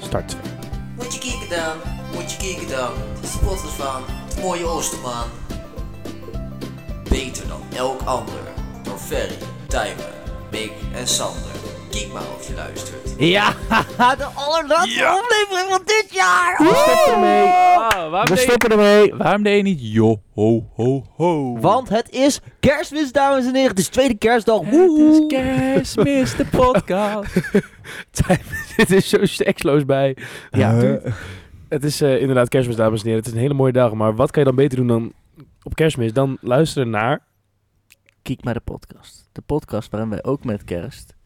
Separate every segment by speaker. Speaker 1: start 2.
Speaker 2: Moet je kijken dan, moet je kijken dan. De spotters van het mooie Oosterman. Beter dan elk ander. Door Ferry, Tijmen, Mick en Sander. Kijk maar of je luistert.
Speaker 1: Ja, de allerlaatste aflevering van dit jaar. We stoppen ermee.
Speaker 3: Ah, waarom,
Speaker 1: We
Speaker 3: deed,
Speaker 1: stoppen ermee.
Speaker 3: waarom deed je niet yo ho ho ho?
Speaker 1: Want het is kerstmis, dames en heren. Het is tweede kerstdag.
Speaker 3: Het is
Speaker 1: Woehoe.
Speaker 3: kerstmis, de podcast.
Speaker 4: Dit is zo seksloos bij.
Speaker 1: Ja.
Speaker 4: Eh, het is eh, inderdaad kerstmis, dames en heren. Het is een hele mooie dag. Maar wat kan je dan beter doen dan op kerstmis? Dan luisteren naar...
Speaker 5: Kijk maar de podcast. De podcast waarin wij ook met kerst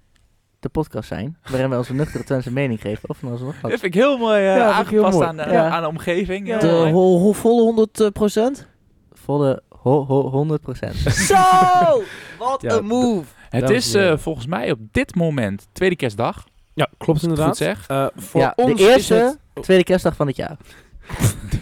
Speaker 5: de podcast zijn. Waarin wij onze nuchtere twente mening geven. Of van onze
Speaker 3: Dat
Speaker 5: nachtlaps.
Speaker 3: vind ik heel mooi eh,
Speaker 4: Ja, vind ik heel
Speaker 3: aangepast
Speaker 4: mooi.
Speaker 3: Aan, de,
Speaker 5: Ja.
Speaker 3: aan de omgeving. Heel
Speaker 1: De
Speaker 3: mooi.
Speaker 1: ho- ho- volle 100%. procent.
Speaker 5: Volle ho ho 100%.
Speaker 1: Zo! Wat
Speaker 4: Ja,
Speaker 1: een move.
Speaker 3: het
Speaker 4: Dames
Speaker 3: is
Speaker 4: en heren.
Speaker 3: eh, volgens mij op dit moment tweede kerstdag.
Speaker 4: Ja, klopt inderdaad.
Speaker 3: Goed zeg.
Speaker 4: Eh, voor
Speaker 5: ja,
Speaker 4: ons
Speaker 5: de eerste,
Speaker 4: is het...
Speaker 5: tweede kerstdag van het jaar.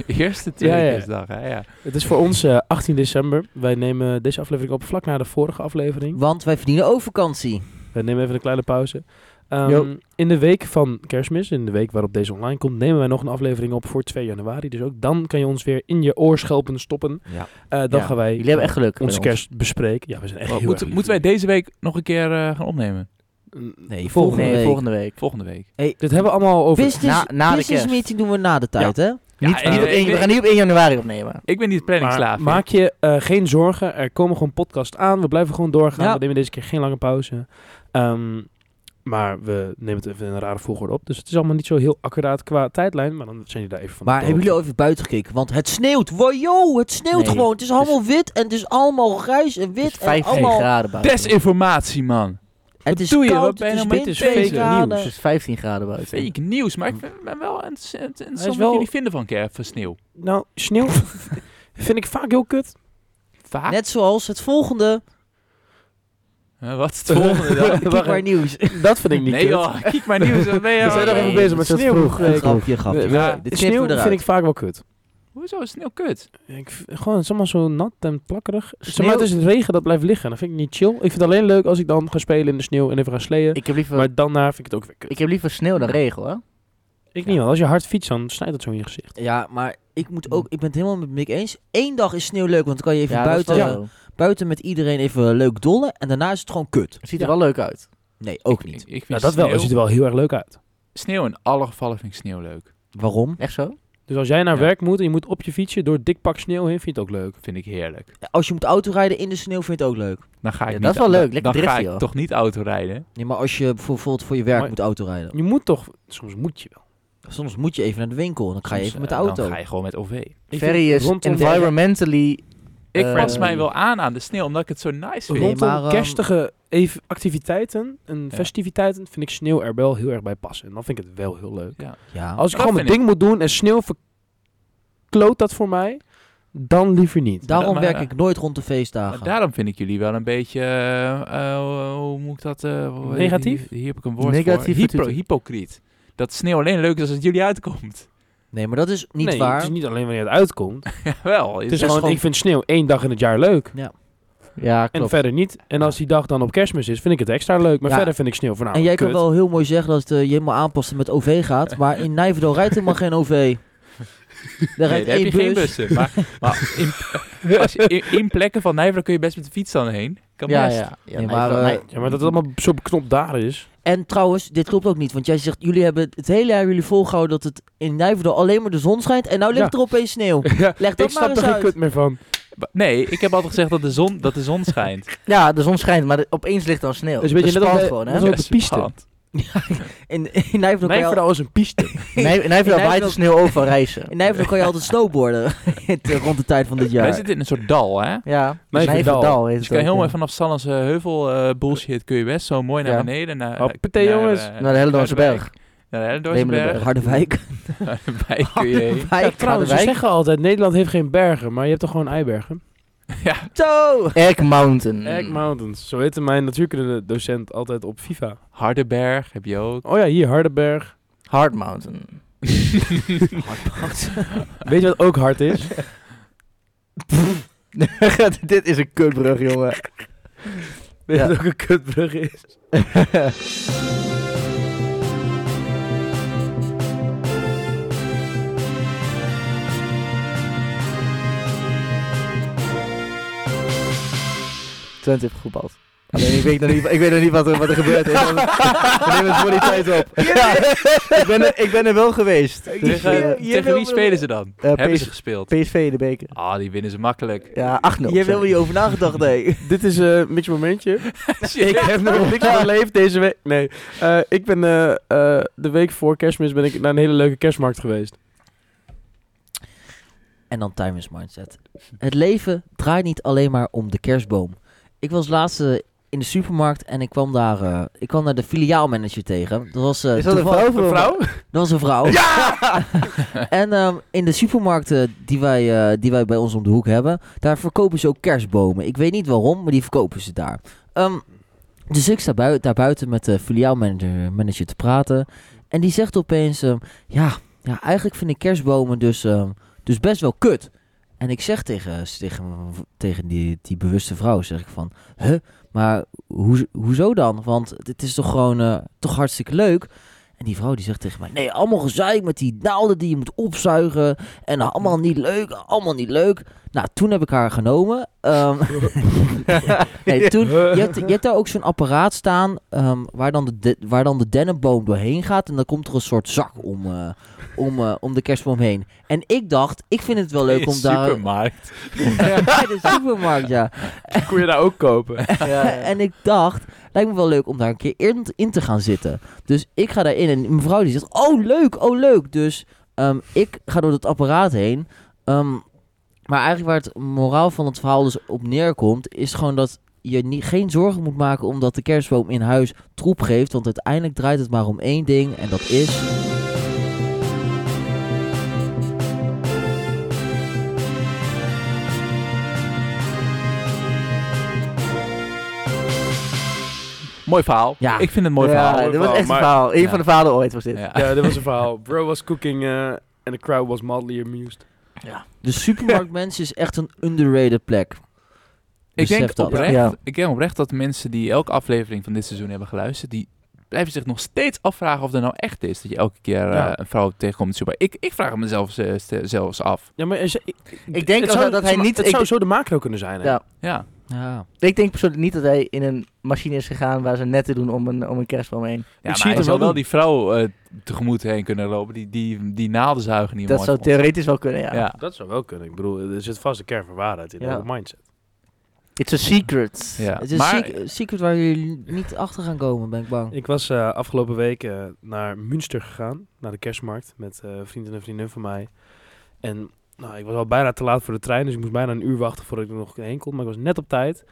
Speaker 3: De eerste tweede
Speaker 4: Ja, ja.
Speaker 3: kerstdag. Hè, ja.
Speaker 4: Het is voor ons eh, 18 december. Wij nemen deze aflevering op vlak na de vorige aflevering.
Speaker 1: Want wij verdienen ook vakantie.
Speaker 4: We nemen Eh, even een kleine pauze. Ehm,
Speaker 1: Jo.
Speaker 4: in de week van kerstmis, in de week waarop deze online komt, nemen wij nog een aflevering op voor 2 januari. Dus ook dan kan je ons weer in je oorschelpen stoppen.
Speaker 3: Ja.
Speaker 4: Eh, dan
Speaker 5: Ja.
Speaker 4: gaan wij
Speaker 5: Jullie hebben echt geluk.
Speaker 4: onze
Speaker 5: bij ons.
Speaker 4: kerst bespreken. Ja, we zijn echt
Speaker 3: Wat,
Speaker 4: heel
Speaker 3: moeten-
Speaker 4: erg
Speaker 3: moeten wij deze week nog een keer eh, gaan opnemen?
Speaker 4: lief. Mm,
Speaker 1: Nee,
Speaker 5: Volgende,
Speaker 1: volgende week.
Speaker 5: volgende week.
Speaker 3: Volgende week.
Speaker 4: Dit hebben we allemaal over.
Speaker 1: Business,
Speaker 5: Na- na de
Speaker 1: business
Speaker 5: kerst.
Speaker 1: meeting doen we na de tijd, hè?
Speaker 5: Niet,
Speaker 3: Ja,
Speaker 5: niet
Speaker 3: ik-
Speaker 5: op één-
Speaker 3: ik-
Speaker 5: we gaan niet op 1 januari opnemen.
Speaker 3: Ik ben niet planningslaaf.
Speaker 4: Maar maak je eh, geen zorgen. Er komen gewoon podcasts aan. We blijven gewoon doorgaan.
Speaker 1: Ja.
Speaker 4: We nemen deze keer geen lange pauze. Ehm, maar we nemen het even in een rare volgorde op. Dus het is allemaal niet zo heel accuraat qua tijdlijn. Maar dan zijn jullie daar even van.
Speaker 1: Maar
Speaker 4: op de
Speaker 1: hebben jullie al
Speaker 4: hoogte.
Speaker 1: even buiten gekeken? Want het sneeuwt. Wajo, het sneeuwt
Speaker 5: Nee,
Speaker 1: gewoon. Het is allemaal wit en het is allemaal grijs en
Speaker 5: Het is
Speaker 1: wit en
Speaker 5: 15
Speaker 1: allemaal...
Speaker 5: graden buiten.
Speaker 3: Desinformatie, man.
Speaker 1: Het is
Speaker 3: doe je? Wat
Speaker 1: koud,
Speaker 3: ben je
Speaker 1: het is
Speaker 3: nou met
Speaker 1: wind,
Speaker 3: deze
Speaker 1: twee
Speaker 3: fake
Speaker 1: graden.
Speaker 5: Het is 15 graden buiten.
Speaker 3: Fake nieuws. Maar ik vind- ben wel interessant interessant wat
Speaker 4: wel-
Speaker 3: jullie vinden van, ker- van sneeuw.
Speaker 4: Nou, sneeuw vind ik vaak heel kut.
Speaker 3: Vaak.
Speaker 1: Ah. Net zoals het volgende
Speaker 3: Eh, wat is het volgende dan?
Speaker 1: Kiekbaar Nieuws.
Speaker 4: Dat vind ik niet
Speaker 3: nee
Speaker 4: kut.
Speaker 3: joh, kijk maar nieuws. Wat ben je
Speaker 4: We
Speaker 3: aan
Speaker 4: zijn nog
Speaker 3: het
Speaker 4: even
Speaker 3: doen?
Speaker 4: bezig met zo'n
Speaker 1: sneeuw.
Speaker 4: vroeg.
Speaker 1: Een grapje, een grapje.
Speaker 4: Nee,
Speaker 3: ja,
Speaker 1: Dit knippen
Speaker 4: Sneeuw
Speaker 1: we eruit.
Speaker 4: vind ik vaak wel kut.
Speaker 3: Hoezo is sneeuw kut?
Speaker 4: Ik, v- gewoon, het is allemaal zo nat en plakkerig. Zeg
Speaker 5: Sneeuw-
Speaker 4: maar, het is regen dat blijft liggen. Dat vind ik niet chill. Ik vind het alleen leuk als ik dan ga spelen in de sneeuw en even ga sleeën.
Speaker 5: Ik heb liever,
Speaker 4: Maar daarna vind ik het ook weer kut.
Speaker 5: ik heb liever sneeuw dan regen hoor.
Speaker 4: Ik niet, want als je hard fietst, dan snijdt het zo in je gezicht.
Speaker 1: Ja, maar ik moet ook... Ik ben het helemaal met Mick eens. Eén dag is sneeuw leuk, want dan kan je even
Speaker 5: Hmm. Ja, dat is
Speaker 1: buiten,
Speaker 5: wel zo.
Speaker 1: buiten met iedereen even leuk dollen. En daarna is het gewoon kut.
Speaker 5: Het ziet er wel leuk uit.
Speaker 1: Nee, ook niet.
Speaker 3: Ik, ik vind
Speaker 4: Nou, dat wel.
Speaker 3: sneeuw,
Speaker 4: Het ziet er wel heel erg leuk uit.
Speaker 3: sneeuw in alle gevallen vind ik sneeuw leuk.
Speaker 1: Waarom?
Speaker 5: Echt zo?
Speaker 4: Dus als jij naar
Speaker 3: Ja.
Speaker 4: werk moet en je moet op je fietsje door een dik pak sneeuw heen, vind je het ook leuk.
Speaker 3: Vind ik heerlijk.
Speaker 1: Als je moet autorijden in de sneeuw vind je het ook leuk.
Speaker 3: Dan ga ik
Speaker 5: Ja,
Speaker 3: niet,
Speaker 5: dat is wel leuk.
Speaker 3: dan-
Speaker 5: Lekker
Speaker 3: Dan, ga
Speaker 5: driften,
Speaker 3: ik
Speaker 5: joh.
Speaker 3: toch niet autorijden.
Speaker 1: Nee, maar als je bijvoorbeeld voor je werk
Speaker 4: Maar-
Speaker 1: moet autorijden.
Speaker 4: Je moet toch... Soms moet je wel.
Speaker 1: Soms moet je even naar de winkel en dan ga je
Speaker 3: Soms,
Speaker 1: even met de
Speaker 3: eh,
Speaker 1: auto.
Speaker 3: Dan ga je gewoon met OV.
Speaker 4: Ik
Speaker 5: Ferry
Speaker 4: vind
Speaker 5: is
Speaker 4: rondom,
Speaker 5: environmentally
Speaker 3: Ik
Speaker 5: Eh,
Speaker 3: pas mij wel aan aan de sneeuw, omdat ik het zo nice vind.
Speaker 1: Nee,
Speaker 4: rondom
Speaker 1: maar, ehm,
Speaker 4: kerstige even activiteiten en
Speaker 3: Ja.
Speaker 4: festiviteiten vind ik sneeuw er wel heel erg bij passen. En dan vind ik het wel heel leuk. Als
Speaker 1: Ja.
Speaker 4: ik
Speaker 3: Dat
Speaker 4: gewoon mijn
Speaker 3: vind
Speaker 4: ding moet doen en sneeuw verkloot dat voor mij, dan liever niet.
Speaker 1: Daarom
Speaker 3: Maar-
Speaker 1: werk ik nooit rond de feestdagen.
Speaker 3: Maar daarom vind ik jullie wel een beetje, eh, eh, hoe moet ik dat... eh, hoe-
Speaker 4: Negatief?
Speaker 3: Hier, hier heb ik een woord
Speaker 5: Negatief
Speaker 3: voor. Hypo,
Speaker 5: natuurlijk.
Speaker 3: hypocriet. Dat sneeuw alleen leuk is als het jullie uitkomt.
Speaker 1: Nee, maar dat is niet
Speaker 4: nee,
Speaker 1: waar.
Speaker 4: het is niet alleen wanneer het uitkomt.
Speaker 3: wel.
Speaker 4: Het
Speaker 3: Is
Speaker 4: is
Speaker 1: is
Speaker 4: gewoon,
Speaker 1: gewoon-
Speaker 4: ik vind sneeuw één dag in het jaar leuk.
Speaker 5: Ja,
Speaker 4: En
Speaker 5: klopt.
Speaker 4: verder niet. En als die dag dan op kerstmis is, vind ik het extra leuk. Maar
Speaker 1: Ja.
Speaker 4: verder vind ik sneeuw
Speaker 1: en
Speaker 4: voornamelijk
Speaker 1: jij kan
Speaker 4: Nou, kut.
Speaker 1: wel heel mooi zeggen dat eh, je helemaal aanpassen met OV gaat, maar in Nijverdal rijdt helemaal geen OV. Daar
Speaker 3: Nee,
Speaker 1: rijdt
Speaker 3: daar
Speaker 1: één
Speaker 3: heb je
Speaker 1: bus.
Speaker 3: geen bussen. Maar, maar in, als je, in, in plekken van Nijverdal kun je best met de fiets dan heen. Kan
Speaker 5: Ja,
Speaker 3: best.
Speaker 5: ja. ja
Speaker 1: Nee,
Speaker 5: maar
Speaker 1: maar,
Speaker 5: ik wil-
Speaker 1: eh,
Speaker 5: nee,
Speaker 4: Ja, maar dat het allemaal zo beknopt daar is.
Speaker 1: En trouwens, dit klopt ook niet, want jij zegt jullie hebben het hele jaar jullie volgehouden dat het in Nijverdal alleen maar de zon schijnt en nou ligt
Speaker 4: Ja.
Speaker 1: er opeens sneeuw.
Speaker 4: ja,
Speaker 1: Leg
Speaker 4: ik
Speaker 1: dat maar
Speaker 4: snap
Speaker 1: eens
Speaker 4: er geen
Speaker 1: uit.
Speaker 4: kut meer van.
Speaker 3: Ba- Nee, ik heb altijd gezegd dat de zon, dat de zon schijnt.
Speaker 5: Ja, de zon schijnt, maar de- opeens ligt er al sneeuw.
Speaker 4: Dat is een beetje
Speaker 5: Dat
Speaker 4: net als
Speaker 5: spant
Speaker 4: bij-
Speaker 5: gewoon, hè?
Speaker 4: net als op de piste.
Speaker 3: spannend.
Speaker 1: In, in Nijverdal kan je al-
Speaker 4: Nijverdal is een piste.
Speaker 5: En hij- en hij
Speaker 1: Nijverdal-
Speaker 5: heeft waait de sneeuw over reizen.
Speaker 1: in Nijverdal kan je altijd snowboarden Het, eh, rond de tijd van dit
Speaker 3: Wij
Speaker 1: jaar.
Speaker 3: zitten in een soort dal, hè?
Speaker 5: Ja,
Speaker 4: Nijverdal.
Speaker 5: Nijverdal
Speaker 3: Dus
Speaker 5: heet het
Speaker 3: je kan
Speaker 5: ook,
Speaker 3: heel
Speaker 5: ja.
Speaker 3: mooi vanaf Sallense heuvel eh, bullshit kun je best zo mooi naar
Speaker 5: Ja.
Speaker 3: beneden. Naar,
Speaker 4: Hoppatee, jongens.
Speaker 3: eh,
Speaker 5: Naar de Hellendoornse
Speaker 3: Zuidwijk.
Speaker 5: Berg.
Speaker 3: Naar de Hellendoornse
Speaker 5: Wemelenberg.
Speaker 3: Berg.
Speaker 1: Harderwijk.
Speaker 3: Daarbij kun je heen.
Speaker 4: Ja,
Speaker 1: Harderwijk.
Speaker 4: trouwens, ze zeggen altijd, Nederland heeft geen bergen, maar je hebt toch gewoon eibergen?
Speaker 3: Ja,
Speaker 1: Zo!
Speaker 5: Egg Mountain.
Speaker 4: Egg Mountains. Zo heette mijn natuurkunde docent altijd op FIFA.
Speaker 3: Hardenberg heb je ook.
Speaker 4: Oh ja, hier, Hardenberg.
Speaker 5: Hard Mountain.
Speaker 4: Weet je wat ook hard is?
Speaker 5: Dit is een kutbrug, jongen.
Speaker 4: Weet je
Speaker 5: Ja.
Speaker 4: wat ook een kutbrug is?
Speaker 5: Twente heeft gevoetbald. Alleen ik weet nog niet, ik weet nog niet wat, er, wat er gebeurd is. want We nemen het voor die tijd op. Ja, ik, ben er, ik ben er wel geweest. Dus,
Speaker 3: tegen,
Speaker 5: eh,
Speaker 3: tegen wie spelen ze dan?
Speaker 5: eh,
Speaker 3: Hebben
Speaker 5: PS
Speaker 3: ze gespeeld?
Speaker 5: PSV in de beker.
Speaker 3: Ah, die winnen ze makkelijk.
Speaker 5: Ja, 8-0.
Speaker 1: Jij wil
Speaker 5: sorry.
Speaker 1: niet over nagedacht, nee.
Speaker 4: Dit is eh Mitch Momentje. ik heb nog niks beleefd deze week. Nee, Eh, ik ben eh, eh, de week voor kerstmis ben ik naar een hele leuke kerstmarkt geweest.
Speaker 1: En dan time is mindset. Het leven draait niet alleen maar om de kerstboom. Ik was laatst eh, in de supermarkt en ik kwam daar, eh, ik kwam daar de filiaalmanager tegen. Dat was, eh,
Speaker 5: Is dat een
Speaker 1: toeval-
Speaker 5: vrouw? voor hem?
Speaker 1: Dat was een vrouw. en ehm, in de supermarkten die wij, eh, die wij bij ons om de hoek hebben, daar verkopen ze ook kerstbomen. Ik weet niet waarom, maar die verkopen ze daar. Ehm, dus ik sta bui- daar buiten met de filiaalmanager manager te praten. En die zegt opeens, ehm, ja, ja, eigenlijk vind ik kerstbomen dus, ehm, dus best wel kut. En ik zeg tegen, tegen, tegen die, die bewuste vrouw, zeg ik van, huh, maar hoe, hoezo dan? Want het is toch gewoon eh, toch hartstikke leuk? En die vrouw die zegt tegen mij, nee, allemaal gezeik met die naalden die je moet opzuigen. En allemaal niet leuk, allemaal niet leuk. Nou, toen heb ik haar genomen. Ehm, nee, toen, je, hebt, je hebt daar ook zo'n apparaat staan ehm, waar, dan de, de- waar dan de dennenboom doorheen gaat. En dan komt er een soort zak om, eh, om, eh, om de kerstboom heen. En ik dacht, ik vind het wel leuk om daar...
Speaker 3: Supermarkt.
Speaker 1: Bij de supermarkt, ja.
Speaker 4: Kon je daar ook kopen?
Speaker 1: en ik dacht, lijkt me wel leuk om daar een keer in, in te gaan zitten. Dus ik ga daarin en mevrouw die zegt, oh leuk, oh leuk. Dus ehm, ik ga door dat apparaat heen. Ehm, maar eigenlijk waar het moraal van het verhaal dus op neerkomt, is gewoon dat je niet, geen zorgen moet maken omdat de kerstboom in huis troep geeft. Want uiteindelijk draait het maar om één ding en dat is...
Speaker 3: Mooi verhaal.
Speaker 1: Ja.
Speaker 3: Ik vind het een mooi
Speaker 5: ja,
Speaker 3: verhaal.
Speaker 5: dit was echt een
Speaker 4: maar-
Speaker 5: verhaal. Een
Speaker 3: Ja.
Speaker 5: van de verhalen ooit was dit.
Speaker 3: Ja.
Speaker 4: Ja, dat was een verhaal. Bro was cooking en the crowd was mildly amused.
Speaker 1: De supermarkt mensen is echt een underrated plek.
Speaker 3: Ik
Speaker 1: Besef
Speaker 3: denk,
Speaker 1: dat.
Speaker 3: oprecht,
Speaker 5: Ja.
Speaker 3: ik denk oprecht dat mensen die elke aflevering van dit seizoen hebben geluisterd, die blijven zich nog steeds afvragen of dat nou echt is. Dat je elke keer eh,
Speaker 4: Ja.
Speaker 3: een vrouw tegenkomt. in de supermarkt. Ik, ik vraag het mezelf ze- ze- zelfs af.
Speaker 4: Ja, maar er is- ik,
Speaker 5: Ik denk
Speaker 4: het
Speaker 5: als dat hij
Speaker 4: het
Speaker 5: niet-
Speaker 4: Het
Speaker 5: ik-
Speaker 4: zou zo de macro kunnen zijn. Hè?
Speaker 5: Ja.
Speaker 3: Ja,
Speaker 1: Ja.
Speaker 5: Ik denk persoonlijk niet dat hij in een machine is gegaan waar ze netten doen om een, om een kerstboom heen.
Speaker 3: ja
Speaker 4: zie
Speaker 3: maar
Speaker 4: het
Speaker 3: hij
Speaker 4: hem
Speaker 3: zou
Speaker 4: wel
Speaker 3: wel
Speaker 4: doen.
Speaker 3: die vrouw eh, tegemoet heen kunnen lopen. Die, die, die naaldenzuigen niet
Speaker 5: dat zou theoretisch wel kunnen, ja.
Speaker 3: ja. ja.
Speaker 4: Dat zou wel kunnen. Ik bedoel, er zit vast een kern van waarheid in
Speaker 5: Ja.
Speaker 4: de mindset.
Speaker 5: It's a secret.
Speaker 1: Het is
Speaker 3: maar
Speaker 1: een sec- secret waar jullie niet achter gaan komen, ben ik bang.
Speaker 4: Ik was eh, afgelopen week eh, naar Münster gegaan, naar de kerstmarkt, met eh, vrienden en vriendinnen van mij. En nou, ik was al bijna te laat voor de trein, dus ik moest bijna een uur wachten voordat ik er nog heen kon. Maar ik was net op tijd.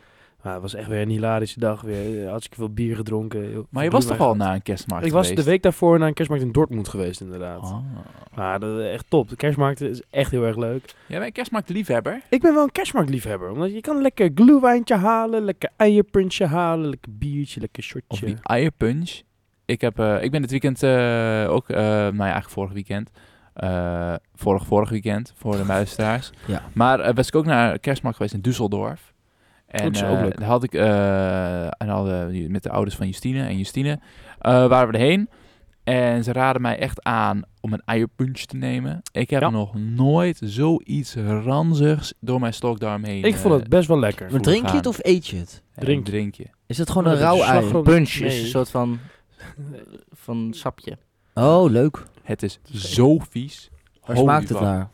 Speaker 4: Maar het was echt weer een hilarische dag. Weer eh, hartstikke veel bier gedronken. heel-
Speaker 3: maar je was
Speaker 4: bier
Speaker 3: toch al
Speaker 4: bij-
Speaker 3: na een kerstmarkt
Speaker 4: Ik was de
Speaker 3: geweest?
Speaker 4: week daarvoor naar een kerstmarkt in Dortmund geweest, inderdaad.
Speaker 3: Oh.
Speaker 4: Maar dat is echt top. De kerstmarkt is echt heel erg leuk.
Speaker 3: Jij bent een kerstmarktliefhebber?
Speaker 4: Ik ben wel een kerstmarktliefhebber, omdat je kan lekker glühwijntje halen, lekker eierpuntje halen, lekker biertje, lekker
Speaker 3: Of
Speaker 4: shotje.
Speaker 3: die eierpunch. Ik, heb, eh, ik ben dit weekend eh, ook, eh nou ja, eigenlijk vorig weekend. eh, vorig, vorig weekend voor de luisteraars.
Speaker 1: Ja.
Speaker 3: Maar eh, was ik ook naar een kerstmarkt geweest in Düsseldorf. En
Speaker 4: Oh, Dat is ook
Speaker 3: eh,
Speaker 4: leuk.
Speaker 3: daar had ik eh, en hadden we met de ouders van Justine en Justine eh, waren we erheen. En ze raden mij echt aan om een eierpunch te nemen. Ik heb
Speaker 4: Ja.
Speaker 3: nog nooit zoiets ranzigs door mijn stokdarm heen. eh,
Speaker 4: Ik vond het best wel lekker.
Speaker 1: Maar drink je het
Speaker 3: gaan.
Speaker 1: of eet je het?
Speaker 4: Drink.
Speaker 3: drink. drink je.
Speaker 1: Is het gewoon een
Speaker 4: Dat is
Speaker 1: rauw ei?
Speaker 4: slagroom-
Speaker 5: Punch is
Speaker 4: Nee.
Speaker 5: een soort van, van sapje.
Speaker 1: Oh, leuk.
Speaker 3: Het is zo vies.
Speaker 1: Waar
Speaker 3: Holy
Speaker 1: smaakt het
Speaker 3: fuck.
Speaker 1: naar?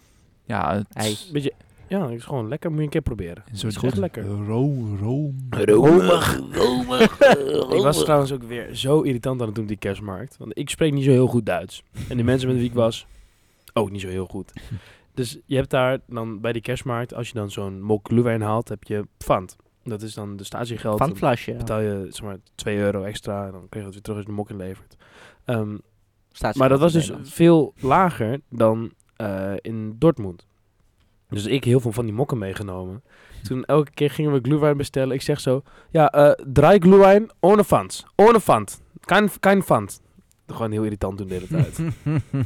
Speaker 3: Ja, het
Speaker 5: Ei.
Speaker 3: is
Speaker 4: Beetje, ja, het is gewoon lekker. Moet je een keer proberen.
Speaker 3: een soort
Speaker 4: Het is echt lekker.
Speaker 3: ro- room.
Speaker 1: Romig, romig,
Speaker 4: Ik was trouwens ook weer zo irritant aan het doen op die kerstmarkt. Want ik spreek niet zo heel goed Duits. En de mensen met wie ik was, ook niet zo heel goed. Dus je hebt daar dan bij die kerstmarkt, als je dan zo'n mok glühwein haalt, heb je pfand. Dat is dan de statiegeld.
Speaker 5: Van het flasje.
Speaker 4: betaal je zeg maar 2 euro extra en dan krijg je het weer terug als je de mok inlevert. Ehm,
Speaker 5: Staat ze
Speaker 4: maar dat
Speaker 5: in
Speaker 4: was dus
Speaker 5: Nederland.
Speaker 4: veel lager dan eh, in Dortmund. Dus ik heel veel van die mokken meegenomen. Toen elke keer gingen we glühwein bestellen. Ik zeg zo, ja, eh draai glühwein ohne fans. Ohne fans. Kein, kein fans. Gewoon heel irritant toen deed het uit.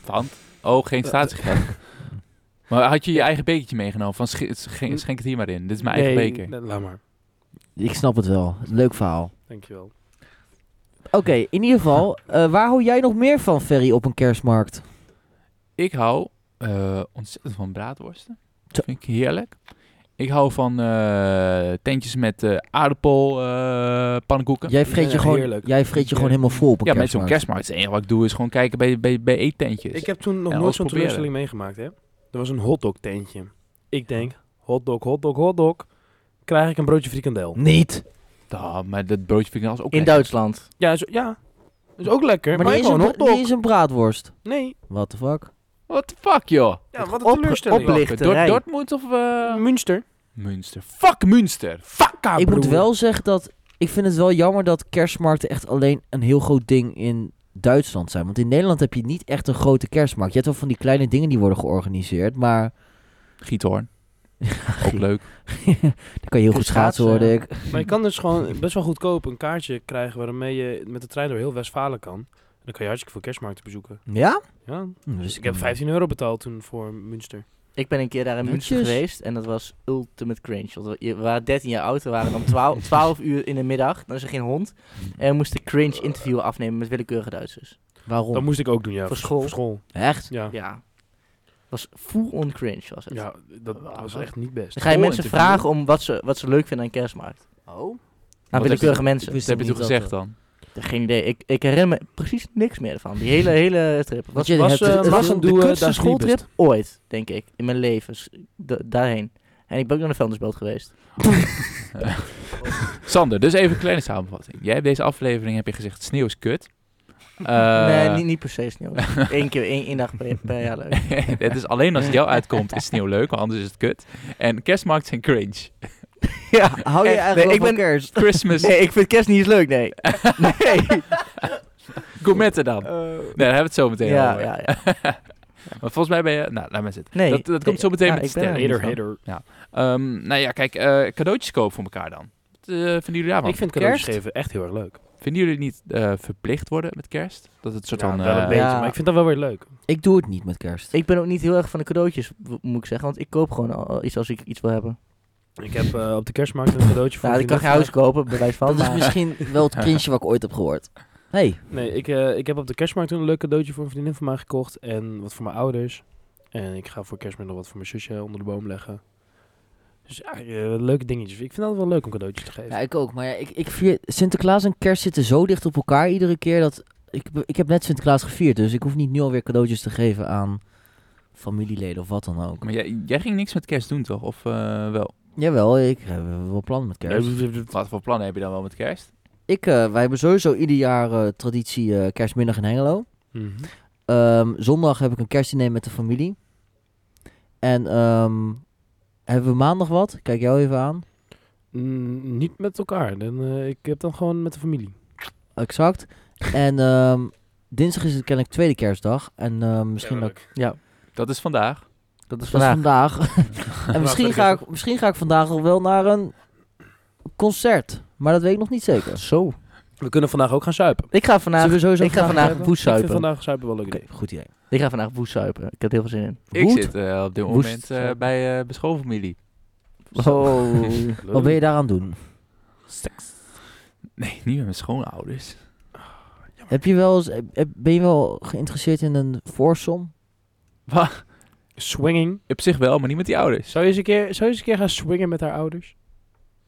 Speaker 3: Pfand. Oh, geen statiegeld. maar had je je eigen bekertje meegenomen? Van sch- schen- schenk het hier maar in. Dit is mijn eigen
Speaker 4: Nee,
Speaker 3: beker.
Speaker 4: nee, laat maar.
Speaker 1: Ik snap het wel. Leuk verhaal.
Speaker 4: Dankjewel.
Speaker 1: Oké, in ieder geval, eh, waar hou jij nog meer van, Ferry, op een kerstmarkt?
Speaker 3: Ik hou eh, ontzettend van braadworsten.
Speaker 1: Zo.
Speaker 3: Vind ik heerlijk. Ik hou van eh, tentjes met eh aardappel, eh, pannenkoeken. Ja,
Speaker 1: Jij vreet
Speaker 4: Ja,
Speaker 1: je gewoon,
Speaker 4: heerlijk.
Speaker 1: jij vreet je gewoon helemaal vol op een
Speaker 3: met zo'n
Speaker 1: kerstmarkt.
Speaker 3: kerstmarkt. Het enige wat ik doe is gewoon kijken bij, bij, bij eettentjes.
Speaker 4: Ik heb toen nog
Speaker 3: En
Speaker 4: nooit
Speaker 3: alles
Speaker 4: zo'n
Speaker 3: proberen.
Speaker 4: teleurstelling meegemaakt, hè. Er was een hotdog tentje. Ik denk, hotdog, hotdog, hotdog. Krijg ik een broodje frikandel.
Speaker 1: Niet.
Speaker 3: Ah, maar dat broodje vind ik als ook
Speaker 5: In
Speaker 3: lekker.
Speaker 5: Duitsland.
Speaker 4: Ja, is, ja. is ook lekker.
Speaker 1: Maar
Speaker 4: Maar,
Speaker 1: niet
Speaker 4: ik
Speaker 1: eens,
Speaker 4: wou
Speaker 1: een,
Speaker 4: een
Speaker 1: bra- niet
Speaker 4: hotdog.
Speaker 1: eens een braadworst.
Speaker 4: Nee.
Speaker 1: What the fuck?
Speaker 3: What the fuck, joh?
Speaker 4: Ja, wat een
Speaker 5: Op-
Speaker 4: teleurstelling.
Speaker 5: opblik- Lichterij.
Speaker 3: Dort- Dortmund of... eh,
Speaker 4: Münster.
Speaker 3: Münster. Fuck Münster. Fuck haar,
Speaker 1: ik moet
Speaker 3: Ah, broer.
Speaker 1: wel zeggen dat... Ik vind het wel jammer dat kerstmarkten echt alleen een heel groot ding in Duitsland zijn. Want in Nederland heb je niet echt een grote kerstmarkt. Je hebt wel van die kleine dingen die worden georganiseerd. Maar
Speaker 3: Giethoorn. ook leuk.
Speaker 1: dan kan je heel goed schaatsen,
Speaker 5: schaatsen,
Speaker 1: hoorde
Speaker 5: ja.
Speaker 1: ik.
Speaker 4: Maar je kan dus gewoon best wel goedkoop een kaartje krijgen waarmee je met de trein door heel Westfalen kan. En dan kan je hartstikke veel kerstmarkten bezoeken.
Speaker 1: Ja?
Speaker 4: Ja.
Speaker 1: Dus
Speaker 4: Dus ik heb
Speaker 5: Hmm.
Speaker 4: 15 euro betaald toen voor Münster.
Speaker 5: Ik ben een keer daar in München
Speaker 1: Netjes.
Speaker 5: geweest en dat was ultimate cringe. Want we we waren 13 jaar oud, we waren om 12, 12 uur in de middag, dan is er geen hond.
Speaker 3: Hmm.
Speaker 5: En we moesten cringe interview afnemen met willekeurige Duitsers.
Speaker 1: Waarom?
Speaker 4: Dat moest ik ook doen, ja.
Speaker 5: Voor school?
Speaker 4: Voor school,
Speaker 1: Echt?
Speaker 4: ja.
Speaker 3: Oh.
Speaker 4: Ja,
Speaker 5: Ja. Was full on cringe was het.
Speaker 4: dat was echt niet
Speaker 5: Dus Dan
Speaker 4: best.
Speaker 5: ga je
Speaker 3: Full
Speaker 5: mensen
Speaker 3: interview?
Speaker 5: vragen om wat ze, wat ze leuk vinden aan kerstmarkt.
Speaker 1: Oh.
Speaker 5: Aan
Speaker 3: Wat heb
Speaker 5: willekeurige
Speaker 3: je-
Speaker 5: mensen.
Speaker 1: ik
Speaker 3: Dat heb je
Speaker 1: niet
Speaker 3: toen
Speaker 1: dat
Speaker 3: gezegd
Speaker 1: dat-
Speaker 3: dan?
Speaker 5: Geen idee. Ik, ik herinner me precies niks meer ervan. Die hele, hele trip. Het
Speaker 1: Want
Speaker 5: was,
Speaker 1: je
Speaker 5: was,
Speaker 1: hebt-
Speaker 5: eh,
Speaker 1: het
Speaker 5: was
Speaker 1: film
Speaker 5: de
Speaker 4: doe, eh,
Speaker 5: kutste
Speaker 4: daar is liebest.
Speaker 5: schooltrip ooit, denk ik. In mijn leven. Dus da- daarheen. En ik ben ook naar de Veldersbeeld geweest.
Speaker 3: Sander, dus even een kleine samenvatting. Jij hebt deze aflevering heb je gezegd, sneeuw is kut.
Speaker 1: Eh.
Speaker 3: Eh,
Speaker 5: nee, niet, niet per se sneeuw. Eén keer, één, één dag per, per jaar leuk.
Speaker 3: het is alleen als het jou uitkomt is sneeuw leuk, want anders is het kut. En kerstmarkt zijn cringe.
Speaker 5: ja.
Speaker 1: Hou je eigenlijk
Speaker 5: Echt, Eh, nee,
Speaker 1: wel
Speaker 5: ik
Speaker 1: van
Speaker 5: ben-
Speaker 1: kerst?
Speaker 3: Christmas,
Speaker 5: Nee, ik vind kerst niet eens leuk, nee. nee.
Speaker 3: gourmetten dan. Nee,
Speaker 4: Eh,
Speaker 3: daar hebben we het zo meteen
Speaker 5: Oh. ja,
Speaker 3: over.
Speaker 5: ja, ja.
Speaker 3: Maar volgens mij ben je... Nou, laat maar zitten.
Speaker 5: Nee,
Speaker 3: dat, dat
Speaker 5: nee,
Speaker 3: komt zo meteen
Speaker 5: ja,
Speaker 3: met de
Speaker 5: ik ben er
Speaker 3: sterren.
Speaker 5: niet.
Speaker 4: Hater,
Speaker 5: van.
Speaker 4: hater.
Speaker 3: Ehm, nou ja, kijk, eh, cadeautjes kopen voor elkaar dan. Wat eh, vinden jullie daarvan?
Speaker 4: Ik vind cadeautjes
Speaker 1: Kerst?
Speaker 4: geven echt heel erg leuk.
Speaker 3: Vinden jullie niet eh, verplicht worden met kerst? Dat het soort
Speaker 4: Ja,
Speaker 3: van...
Speaker 4: wel een
Speaker 3: eh,
Speaker 4: beetje,
Speaker 5: ja.
Speaker 4: maar ik vind dat wel weer leuk.
Speaker 1: Ik doe het niet met kerst.
Speaker 5: Ik ben ook niet heel erg van de cadeautjes, w- moet ik zeggen. Want ik koop gewoon al iets als ik iets wil hebben.
Speaker 4: Ik heb eh, op de kerstmarkt een cadeautje voor
Speaker 5: Nou, ik
Speaker 4: een
Speaker 5: kan geen huis
Speaker 4: vriendin
Speaker 5: kopen, bewijs van.
Speaker 1: Dat is
Speaker 5: Maar
Speaker 1: misschien wel het cringe wat ik ooit heb gehoord. Hey,
Speaker 4: van mij- Nee, ik, eh, ik heb op de kerstmarkt een leuk cadeautje voor een vriendin van mij gekocht. En wat voor mijn ouders. En ik ga voor kerstmis nog wat voor mijn zusje onder de boom leggen. Dus ja, eh, leuke dingetjes. Ik vind het altijd wel leuk om cadeautjes te geven.
Speaker 1: Ja, ik ook. Maar ja, ik, ik vier, Sinterklaas en kerst zitten zo dicht op elkaar iedere keer dat... Ik, ik heb net Sinterklaas gevierd, dus ik hoef niet nu alweer cadeautjes te geven aan familieleden of wat dan ook.
Speaker 3: Maar jij, jij ging niks met kerst doen, toch? Of eh, wel?
Speaker 1: Jawel, ik heb wel plannen met kerst.
Speaker 3: Wat voor plannen heb je dan wel met kerst?
Speaker 1: Ik, eh, wij hebben sowieso ieder jaar eh, traditie eh, kerstmiddag in Hengelo.
Speaker 4: Mhm.
Speaker 1: Ehm, zondag heb ik een kerstdiner met de familie. En ehm, hebben we maandag wat? Ik Kijk jou even aan.
Speaker 4: Mm, niet met elkaar. Dan, eh, ik heb dan gewoon met de familie.
Speaker 1: Exact. en ehm, dinsdag is het kennelijk tweede kerstdag. En ehm, misschien ook...
Speaker 5: ja,
Speaker 3: Dat is vandaag.
Speaker 5: dat is
Speaker 1: Dus Dat is
Speaker 5: vandaag.
Speaker 1: vandaag. en misschien
Speaker 4: Vandaag
Speaker 1: ga, ik, misschien ga ik vandaag al wel naar een concert. Maar dat weet ik nog niet zeker.
Speaker 5: Zo.
Speaker 4: We kunnen vandaag ook gaan suipen.
Speaker 5: Ik ga vandaag,
Speaker 1: Zullen we sowieso
Speaker 5: ik ga
Speaker 1: vandaag
Speaker 5: vandaag woest
Speaker 4: Ik vind
Speaker 5: suipen.
Speaker 4: vandaag suipen wel een leuk idee.
Speaker 1: Goed idee.
Speaker 5: Ik ga vandaag woest suipen. Ik heb er heel veel zin in.
Speaker 3: Ik
Speaker 1: Woed?
Speaker 3: zit eh, op dit
Speaker 5: Woest,
Speaker 3: moment eh,
Speaker 5: sorry.
Speaker 3: bij eh mijn schoolfamilie.
Speaker 5: Oh.
Speaker 1: Wat ben je daaraan doen?
Speaker 3: Nee, niet met mijn schoonouders.
Speaker 1: Heb je wel eens, heb- ben je wel geïnteresseerd in een voorsom?
Speaker 3: Wat?
Speaker 4: Swinging.
Speaker 3: Op zich wel, maar niet met die ouders.
Speaker 4: Zou je, eens een keer, zou je eens een keer gaan swingen met haar ouders?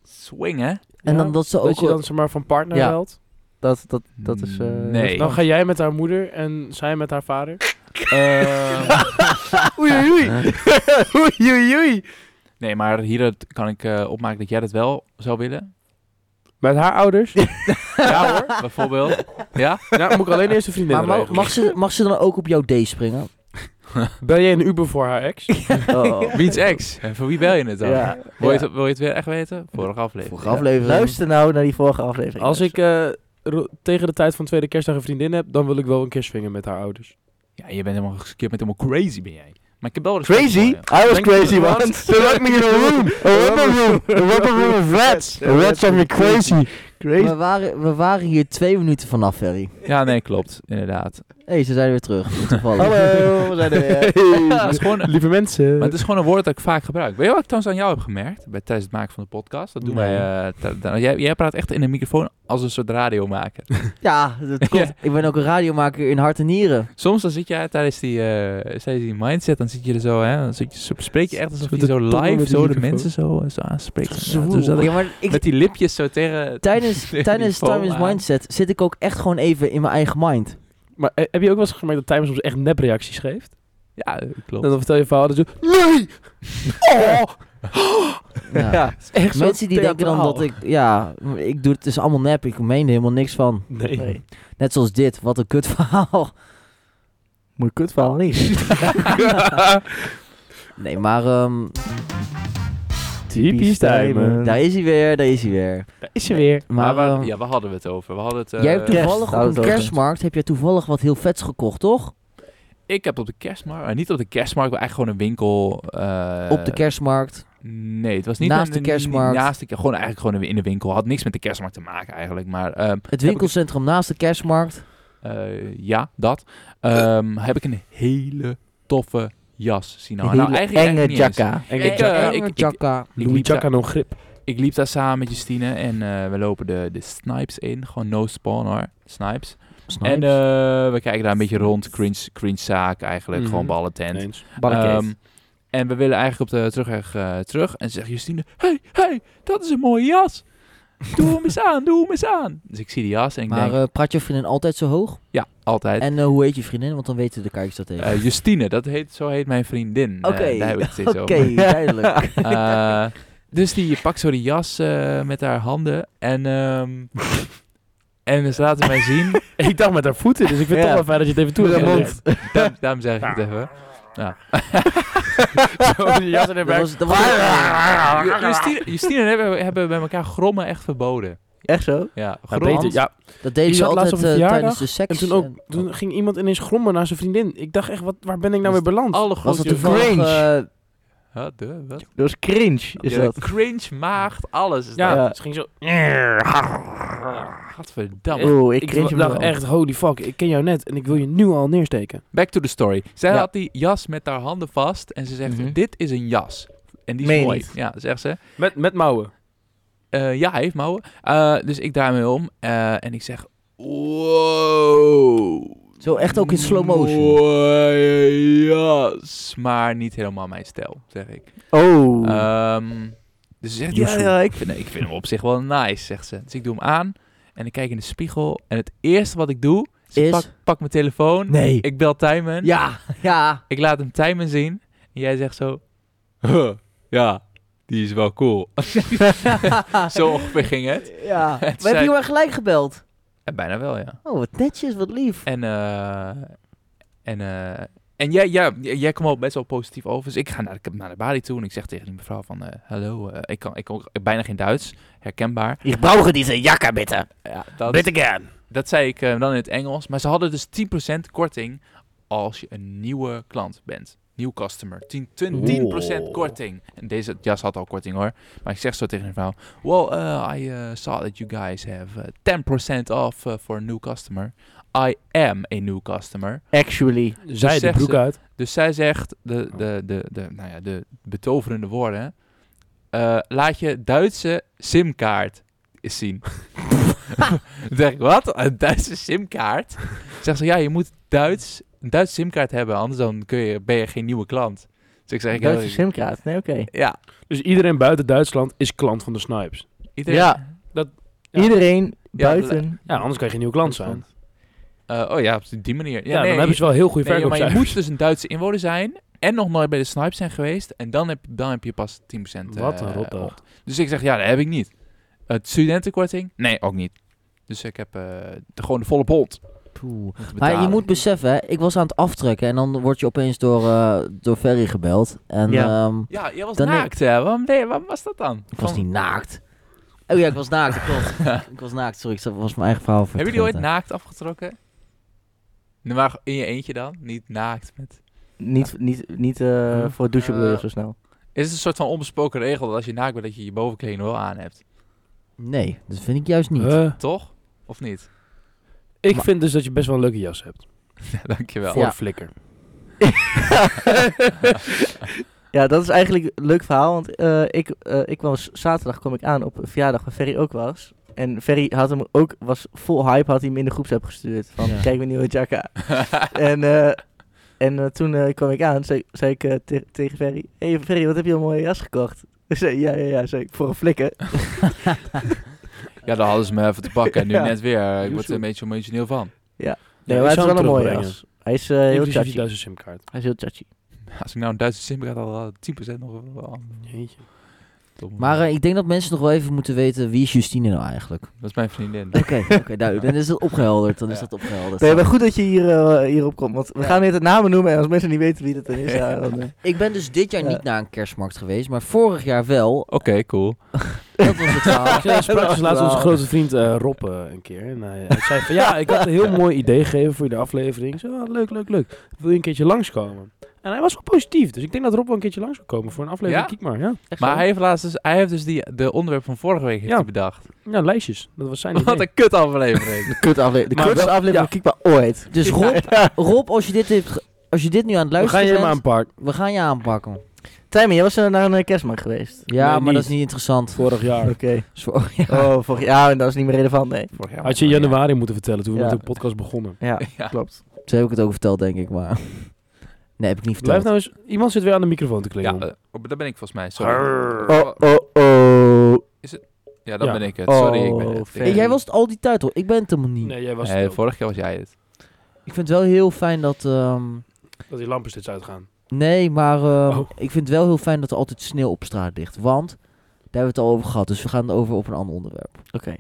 Speaker 3: Swingen?
Speaker 1: En
Speaker 4: Ja,
Speaker 1: dan dat ze
Speaker 4: Dat
Speaker 1: ook...
Speaker 4: je dan zeg maar van partner
Speaker 5: Ja.
Speaker 4: ruilt?
Speaker 5: Dat, dat, dat is... eh,
Speaker 3: Nee.
Speaker 4: Dan ga jij met haar moeder en zij met haar vader.
Speaker 3: Ehm,
Speaker 5: Oei, oei, oei. oei, oei, oei.
Speaker 3: nee, maar hieruit kan ik eh, opmaken dat jij dat wel zou willen.
Speaker 4: Met haar ouders?
Speaker 3: Ja hoor, bijvoorbeeld. Ja?
Speaker 4: ja, moet ik alleen eerst een vriendin
Speaker 1: Maar ma-
Speaker 4: regelen.
Speaker 1: mag, ze, mag ze dan ook op jouw D springen?
Speaker 4: Bel jij een Uber voor haar ex?
Speaker 5: Oh.
Speaker 3: Wiens ex? En voor wie bel je het dan?
Speaker 5: Ja.
Speaker 3: Wil, je
Speaker 5: Ja.
Speaker 3: het, wil je het weer echt weten? Vorige aflevering.
Speaker 1: Vorige aflevering.
Speaker 5: Luister nou naar die vorige aflevering.
Speaker 4: Als ik eh, ro- tegen de tijd van tweede kerstdag een vriendin heb, dan wil ik wel een keer swingen met haar ouders.
Speaker 3: Ja, je bent helemaal geskipt met helemaal crazy ben jij. Maar ik heb wel respect
Speaker 5: Crazy?
Speaker 3: voor
Speaker 5: I
Speaker 3: je.
Speaker 5: was
Speaker 4: Denk
Speaker 5: crazy
Speaker 4: je dat-
Speaker 5: once. They locked me in a room. A rubber room. A rubber room of rats. The Rats are me crazy. Crazy.
Speaker 1: We waren, we waren hier twee minuten vanaf, Ferry.
Speaker 3: Ja, nee, klopt. Inderdaad.
Speaker 1: hey, ze zijn weer terug. Toevallig.
Speaker 5: Hallo, we zijn er weer.
Speaker 3: Maar het, is gewoon, maar
Speaker 4: Lieve mensen.
Speaker 3: het is gewoon een woord dat ik vaak gebruik. Weet je wat ik trouwens aan jou heb gemerkt? Bij, tijdens het maken van de podcast. Dat doen
Speaker 1: Nee.
Speaker 3: wij, eh, t- t- jij, jij praat echt in een microfoon als een soort radiomaker.
Speaker 1: Ja, dat komt.
Speaker 3: Ja.
Speaker 1: Ik ben ook een radiomaker in hart en nieren.
Speaker 3: Soms dan zit jij tijdens die, eh, tijdens die mindset, dan zit je er zo, hè, dan zit je, zo- spreek je echt alsof
Speaker 4: Met
Speaker 3: je
Speaker 4: de
Speaker 3: zo
Speaker 4: tongen met
Speaker 3: live
Speaker 4: die
Speaker 3: zo de
Speaker 4: microfoon.
Speaker 3: mensen zo, eh, zo aanspreekt. Ja,
Speaker 1: Oeh,
Speaker 3: dus dat ik-
Speaker 1: ja, maar ik,
Speaker 3: met die lipjes zo tegen...
Speaker 1: tijdens
Speaker 3: tegen
Speaker 1: tijdens
Speaker 3: die
Speaker 1: Time is
Speaker 3: foam aan.
Speaker 1: Mindset zit ik ook echt gewoon even in mijn eigen mind.
Speaker 4: Maar eh, heb je ook wel eens gemerkt dat Timer soms echt nepreacties geeft?
Speaker 3: Ja, eh,
Speaker 4: En
Speaker 3: klopt.
Speaker 4: dan vertel je verhaal dat zo... Nee! Oh!
Speaker 1: Ja.
Speaker 4: Ja, het is echt zo
Speaker 1: Mensen die denken dan
Speaker 4: theatraal.
Speaker 1: dat ik, ja, ik doe het is allemaal nep, ik meen er helemaal niks van.
Speaker 4: Nee.
Speaker 1: Nee. Net zoals dit, wat een kut verhaal.
Speaker 5: Moet ik het
Speaker 1: Oh,
Speaker 5: verhaal niet.
Speaker 1: Nee, maar ehm,
Speaker 4: Typisch Timer.
Speaker 1: daar is hij weer, daar is hij weer.
Speaker 4: Daar is ze weer.
Speaker 1: Maar,
Speaker 3: Maar waar-
Speaker 1: ehm,
Speaker 3: ja, waar hadden we het over? We hadden het, eh,
Speaker 1: jij hebt toevallig
Speaker 5: daar
Speaker 1: op
Speaker 5: hadden
Speaker 1: een
Speaker 5: we het over.
Speaker 1: kerstmarkt heb jij toevallig wat heel vets gekocht, toch?
Speaker 3: Ik heb op de kerstmarkt, eh, niet op de kerstmarkt, maar eigenlijk gewoon een winkel. eh,
Speaker 1: op de kerstmarkt.
Speaker 3: Nee, het was niet
Speaker 1: Naast
Speaker 3: aan
Speaker 1: de kerstmarkt.
Speaker 3: Naast de, gewoon eigenlijk gewoon in de winkel. Had niks met de kerstmarkt te maken eigenlijk. Maar ehm,
Speaker 1: Het winkelcentrum naast de kerstmarkt.
Speaker 3: eh, ja, dat. Ehm, heb ik een hele toffe jas zien hangen.
Speaker 5: Hele enge
Speaker 3: nou, niet eens.
Speaker 5: jacka.
Speaker 4: En
Speaker 3: Ik, eh, ik- ik-
Speaker 1: Chaka.
Speaker 3: Ik liep, daar,
Speaker 4: no grip.
Speaker 3: ik liep daar samen met Justine en eh, we lopen de, de snipes in. Gewoon no spawn hoor. Snipes. En eh, we kijken daar een beetje rond. Cringe, cringe zaak eigenlijk.
Speaker 4: Mhm.
Speaker 3: Gewoon ballen tent.
Speaker 4: Ineens.
Speaker 3: Ehm, en we willen eigenlijk op de terugweg eh, terug. En zegt Justine, hey, hey, dat is een mooie jas. Doe hem eens aan, doe hem eens aan. Dus ik zie die jas en ik
Speaker 1: maar
Speaker 3: denk,
Speaker 1: eh, praat je vriendin altijd zo hoog?
Speaker 3: ja, altijd.
Speaker 1: En eh, hoe heet je vriendin? Want dan weten de kijkers dat even.
Speaker 3: Eh, Justine, dat heet, zo heet mijn vriendin. Eh,
Speaker 1: Oké,
Speaker 3: daar heb ik het steeds
Speaker 1: Oké,
Speaker 3: over.
Speaker 1: duidelijk.
Speaker 3: Eh, dus die pakt zo die jas eh, met haar handen. En, ehm en ze laten mij zien.
Speaker 4: Ik dacht met haar voeten, dus ik vind
Speaker 5: Ja.
Speaker 4: het toch wel fijn dat je het even toe
Speaker 5: Met
Speaker 4: hebt
Speaker 5: haar
Speaker 4: gezegd.
Speaker 5: mond.
Speaker 3: Daarom, daarom zeg ik het even. Ja.
Speaker 4: Zo, die jas in haar
Speaker 1: Dat
Speaker 4: buik.
Speaker 1: was, dat was-
Speaker 3: Ju- Justine, Justine en hebben, hebben bij elkaar grommen echt verboden.
Speaker 5: Echt zo?
Speaker 3: Ja,
Speaker 4: Maar
Speaker 3: grommen.
Speaker 4: beter, ja.
Speaker 1: dat
Speaker 4: Ik
Speaker 1: deden jullie
Speaker 4: zat laatst
Speaker 1: altijd
Speaker 4: op een
Speaker 1: eh,
Speaker 4: verjaardag
Speaker 1: tijdens de
Speaker 4: En
Speaker 1: seks. eh,
Speaker 4: toen ook, toen ging iemand ineens grommen naar zijn vriendin. Ik dacht echt, wat, waar ben ik nou
Speaker 5: Dus
Speaker 4: weer beland?
Speaker 3: Alle
Speaker 1: was
Speaker 3: grote
Speaker 1: dat toevallig...
Speaker 5: cringe.
Speaker 1: eh,
Speaker 3: Huh, de, wat?
Speaker 5: Dat was cringe, is
Speaker 3: Ja,
Speaker 5: dat.
Speaker 3: Cringe, maagd, alles. Is
Speaker 4: Ja,
Speaker 3: ja.
Speaker 5: Ja.
Speaker 4: ze ging zo...
Speaker 3: Gadverdamme.
Speaker 5: Oeh, ik
Speaker 4: Ik
Speaker 5: cringe hem
Speaker 4: dacht
Speaker 5: wel.
Speaker 4: echt, holy fuck, ik ken jou net en ik wil je nu al neersteken.
Speaker 3: Back to the story. Zij
Speaker 5: Ja.
Speaker 3: had die jas met haar handen vast en ze zegt,
Speaker 5: Mhm.
Speaker 3: dit is een jas. En die is
Speaker 5: Meen je
Speaker 3: mooi.
Speaker 5: niet?
Speaker 3: Ja, zegt ze.
Speaker 4: Met, met mouwen.
Speaker 3: Eh, ja, hij heeft mouwen. Eh, dus ik draai me om eh, en ik zeg, wow.
Speaker 1: Zo echt ook in slow motion.
Speaker 3: Mooie jas. Maar niet helemaal mijn stijl, zeg ik.
Speaker 5: Oh.
Speaker 3: Ehm, dus ze zegt, ja,
Speaker 5: Joesoe.
Speaker 3: ja, ik, vind, ik vind hem op zich wel nice, zegt ze. Dus ik doe hem aan en ik kijk in de spiegel. En het eerste wat ik doe, is, ik
Speaker 1: Is?
Speaker 3: Pak, pak mijn telefoon.
Speaker 1: Nee.
Speaker 3: Ik bel Tijmen.
Speaker 1: Ja, ja.
Speaker 3: Ik laat hem Tijmen zien. En jij zegt zo, "Huh, ja, die is wel cool. zo ongeveer ging het.
Speaker 1: Ja. We
Speaker 3: zei-
Speaker 1: hebben je maar gelijk gebeld.
Speaker 3: En bijna wel, ja.
Speaker 1: Oh, wat netjes, wat lief.
Speaker 3: En, eh, en, eh, en jij, ja, j- jij kwam al best wel positief over. Dus ik ga naar de, naar de balie toe en ik zeg tegen die mevrouw van... eh, Hallo, eh, ik, kan, ik kan ook bijna geen Duits, herkenbaar.
Speaker 5: Ik bouwde deze jacka bitte.
Speaker 3: Ja, dat,
Speaker 5: Bitte gaan.
Speaker 3: dat zei ik eh, dan in het Engels. Maar ze hadden dus 10% korting als je een nieuwe klant bent. Nieuw customer. 10, 10, 10% korting. En deze jas had al korting hoor. Maar ik zeg zo tegen een vrouw. Well, eh, I eh, saw that you guys have eh, 10% off eh, for a new customer. I am a new customer.
Speaker 5: Actually.
Speaker 4: Zij de
Speaker 3: zegt
Speaker 4: broek
Speaker 3: ze-
Speaker 4: uit.
Speaker 3: Dus zij zegt de,
Speaker 4: Oh.
Speaker 3: de, de, de, nou ja, de betoverende woorden. eh, laat je Duitse simkaart eens zien. Dan zeg ik, wat? Een Duitse simkaart? Zegt ze, ja, je moet Duits, een Duitse simkaart hebben, anders dan kun je, ben je geen nieuwe klant. Dus ik zeg, ik
Speaker 5: Duitse simkaart. Nee, oké.
Speaker 3: Ja,
Speaker 4: Dus iedereen buiten Duitsland is klant van de Snipes.
Speaker 3: iedereen.
Speaker 5: Ja.
Speaker 4: Dat- ja.
Speaker 5: Iedereen buiten.
Speaker 4: Ja, anders kan je geen nieuw klant zijn.
Speaker 5: Duitsland.
Speaker 3: Eh, oh ja, op die manier.
Speaker 4: Ja,
Speaker 3: Ja, nee,
Speaker 4: dan hebben ze wel heel goede
Speaker 3: nee, maar je
Speaker 4: verkoopcijfers.
Speaker 3: moet dus een Duitse inwoner zijn en nog nooit bij de Snipes zijn geweest. En dan heb, dan heb je pas 10% eh,
Speaker 4: Wat een
Speaker 3: op.
Speaker 4: rotdag.
Speaker 3: Dus ik zeg, ja, dat heb ik niet. Het studentenkorting? Nee, ook niet. Dus ik heb eh, de, gewoon de volle pond.
Speaker 1: Poeh.
Speaker 3: moeten
Speaker 1: Maar je
Speaker 3: betalen.
Speaker 1: moet beseffen, hè, ik was aan het aftrekken en dan word je opeens door, eh, door Ferry gebeld. En
Speaker 5: Ja.
Speaker 1: ehm,
Speaker 3: Ja, jij was
Speaker 1: Dan denk-
Speaker 3: naakt, hè? Waarom, nee, waarom was dat dan?
Speaker 1: ik was niet naakt. Oh ja, ik was naakt, dat klopt. ik was naakt, sorry, ik was mijn eigen verhaal
Speaker 3: Hebben jullie ooit
Speaker 1: naakt?
Speaker 3: naakt afgetrokken? Nee, maar in je eentje dan? Niet naakt met...
Speaker 5: Niet, niet, niet eh, voor het douchen bedoel je
Speaker 3: Eh,
Speaker 5: zo snel.
Speaker 3: Is het een soort van onbesproken regel dat als je naakt bent dat je je bovenkleding wel aan hebt?
Speaker 1: Nee, dat vind ik juist niet.
Speaker 4: Eh,
Speaker 3: Toch? Of niet?
Speaker 4: ik vind dus dat je best wel een leuke jas hebt.
Speaker 3: Dankjewel.
Speaker 4: Voor
Speaker 1: Ja.
Speaker 4: flikker.
Speaker 5: ja, dat is eigenlijk een leuk verhaal. Want eh, ik, eh, ik was zaterdag kwam ik aan op een verjaardag waar Ferry ook was. En Ferry had hem ook, was vol hype, had hij hem in de groepsapp gestuurd. Van
Speaker 1: Ja.
Speaker 5: kijk mijn nieuwe jacka. en eh, en eh, toen eh, kwam ik aan, zei, zei ik eh, te- tegen Ferry. Hé hey, Ferry, wat heb je een mooie jas gekocht? Hij zei, ja, ja, ja, zei ik, voor een flikker.
Speaker 3: Ja, dan hadden ze me even te pakken. En nu
Speaker 5: Ja.
Speaker 3: net weer. Eh, Ik word er
Speaker 5: Joezoe.
Speaker 3: een beetje emotioneel van.
Speaker 5: Nee,
Speaker 4: ik
Speaker 5: maar het is
Speaker 4: zou
Speaker 5: wel een
Speaker 4: hem
Speaker 5: mooie
Speaker 4: terugbrengen.
Speaker 5: jas. Hij is eh, heel
Speaker 4: Inclusief die
Speaker 5: chachi.
Speaker 4: Duitse simkaart.
Speaker 5: Hij is heel chachi.
Speaker 3: Als ik nou een Duitse simkaart had, had ik 10% nog wel.
Speaker 4: Jeetje.
Speaker 3: Dom.
Speaker 1: Maar eh, ik denk dat mensen nog wel even moeten weten wie is Justine nou eigenlijk.
Speaker 3: Dat is mijn vriendin.
Speaker 1: Oké, oké, duidelijk. Dan is dat opgehelderd. Dan is
Speaker 3: Ja.
Speaker 1: dat opgehelderd.
Speaker 5: Nee, maar goed dat je hier, eh, hierop komt. Want we gaan weer de namen noemen. En als mensen niet weten wie dat dan is, ja, dan... eh,
Speaker 1: Ik ben dus dit jaar
Speaker 5: Ja.
Speaker 1: niet naar een kerstmarkt geweest, maar vorig jaar wel.
Speaker 3: Oké, cool.
Speaker 1: Dat was het verhaal.
Speaker 4: Ik sprak dus laatst onze
Speaker 1: wel-
Speaker 4: grote vriend eh, Rob eh, een keer. En hij, hij zei van, ja, ik had een heel mooi idee gegeven voor de aflevering. Ik zei, ah, leuk, leuk, leuk. Wil je een keertje langskomen? En hij was wel positief. Dus ik denk dat Rob wel een keertje langs zou komen voor een aflevering.
Speaker 3: Ja?
Speaker 4: Kijk maar, ja.
Speaker 3: Maar hij heeft, laatst dus, hij heeft dus die, de onderwerp van vorige week heeft
Speaker 4: Ja.
Speaker 3: hij bedacht.
Speaker 4: Ja, lijstjes. Dat was zijn
Speaker 3: Wat
Speaker 4: idee.
Speaker 3: een kut aflevering.
Speaker 5: De kut aflevering. De
Speaker 4: Maar
Speaker 5: kutste
Speaker 4: wel-
Speaker 5: aflevering van Kiekbaar ooit.
Speaker 1: Dus Rob, Rob als, je dit hebt ge- als je dit nu aan het
Speaker 4: We gaan
Speaker 1: luisteren
Speaker 4: je
Speaker 1: bent,
Speaker 4: maar aanpak.
Speaker 1: we gaan je aanpakken.
Speaker 5: Tijmen, jij was eh, naar een eh, kerstmarkt geweest.
Speaker 1: Ja,
Speaker 4: Nee,
Speaker 1: maar
Speaker 4: niet.
Speaker 1: dat is niet interessant.
Speaker 4: Vorig jaar.
Speaker 5: Oké.
Speaker 1: Zo- ja.
Speaker 5: Oh, vorig jaar. en dat is niet meer relevant, nee.
Speaker 3: Vorig jaar
Speaker 4: Had je in januari moeten vertellen toen we
Speaker 5: Ja.
Speaker 4: met de podcast begonnen.
Speaker 5: Ja,
Speaker 3: Ja.
Speaker 5: klopt.
Speaker 1: Zo heb ik het ook verteld, denk ik, maar... Nee, heb ik niet
Speaker 4: Blijf
Speaker 1: verteld.
Speaker 4: nou eens... Iemand zit weer aan de microfoon te
Speaker 3: Ja,
Speaker 4: kleden.
Speaker 3: eh, oh, dat ben ik volgens mij. Sorry.
Speaker 4: Arr.
Speaker 5: Oh, oh, oh.
Speaker 3: Ja, dat
Speaker 4: Ja.
Speaker 3: ben ik het. Sorry, ik
Speaker 5: Oh,
Speaker 3: ben het.
Speaker 5: fair.
Speaker 1: Hey, jij was het al die tijd, hoor. Ik ben het helemaal niet.
Speaker 4: nee, jij was
Speaker 3: Nee,
Speaker 4: het ook.
Speaker 3: vorige keer was jij het.
Speaker 1: Ik vind het wel heel fijn dat... ehm,
Speaker 4: Dat die lampen steeds uitgaan.
Speaker 1: Nee, maar ehm,
Speaker 4: Oh.
Speaker 1: ik vind het wel heel fijn dat er altijd sneeuw op straat ligt. Want daar hebben we het al over gehad. Dus we gaan over op een ander onderwerp.
Speaker 5: Oké.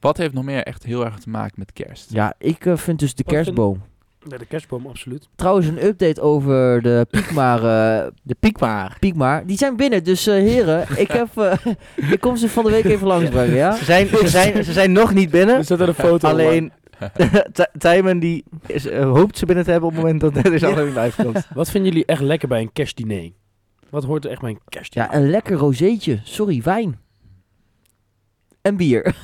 Speaker 3: Wat heeft nog meer echt heel erg te maken met kerst?
Speaker 1: Ja, ik eh, vind dus de
Speaker 4: Wat vind-
Speaker 1: kerstboom.
Speaker 4: Nee, de kerstboom, absoluut.
Speaker 1: Trouwens, een update over de Piekmaar. eh
Speaker 5: De piekbaar.
Speaker 1: Piekmaar. Die zijn binnen, dus eh, heren, ik, heb, eh, ik kom ze van de week even langsbrengen, ja?
Speaker 5: Ze zijn, ze, zijn, ze zijn nog niet binnen.
Speaker 4: Er zit er een foto online.
Speaker 5: Alleen... Ti- Tijmen die is, eh, hoopt ze binnen te hebben op het moment dat deze aflevering live komt.
Speaker 4: Wat vinden jullie echt lekker bij een kerstdiner? Wat hoort er echt bij een kerstdiner?
Speaker 1: Ja, een lekker rozeetje. Sorry, wijn. En bier.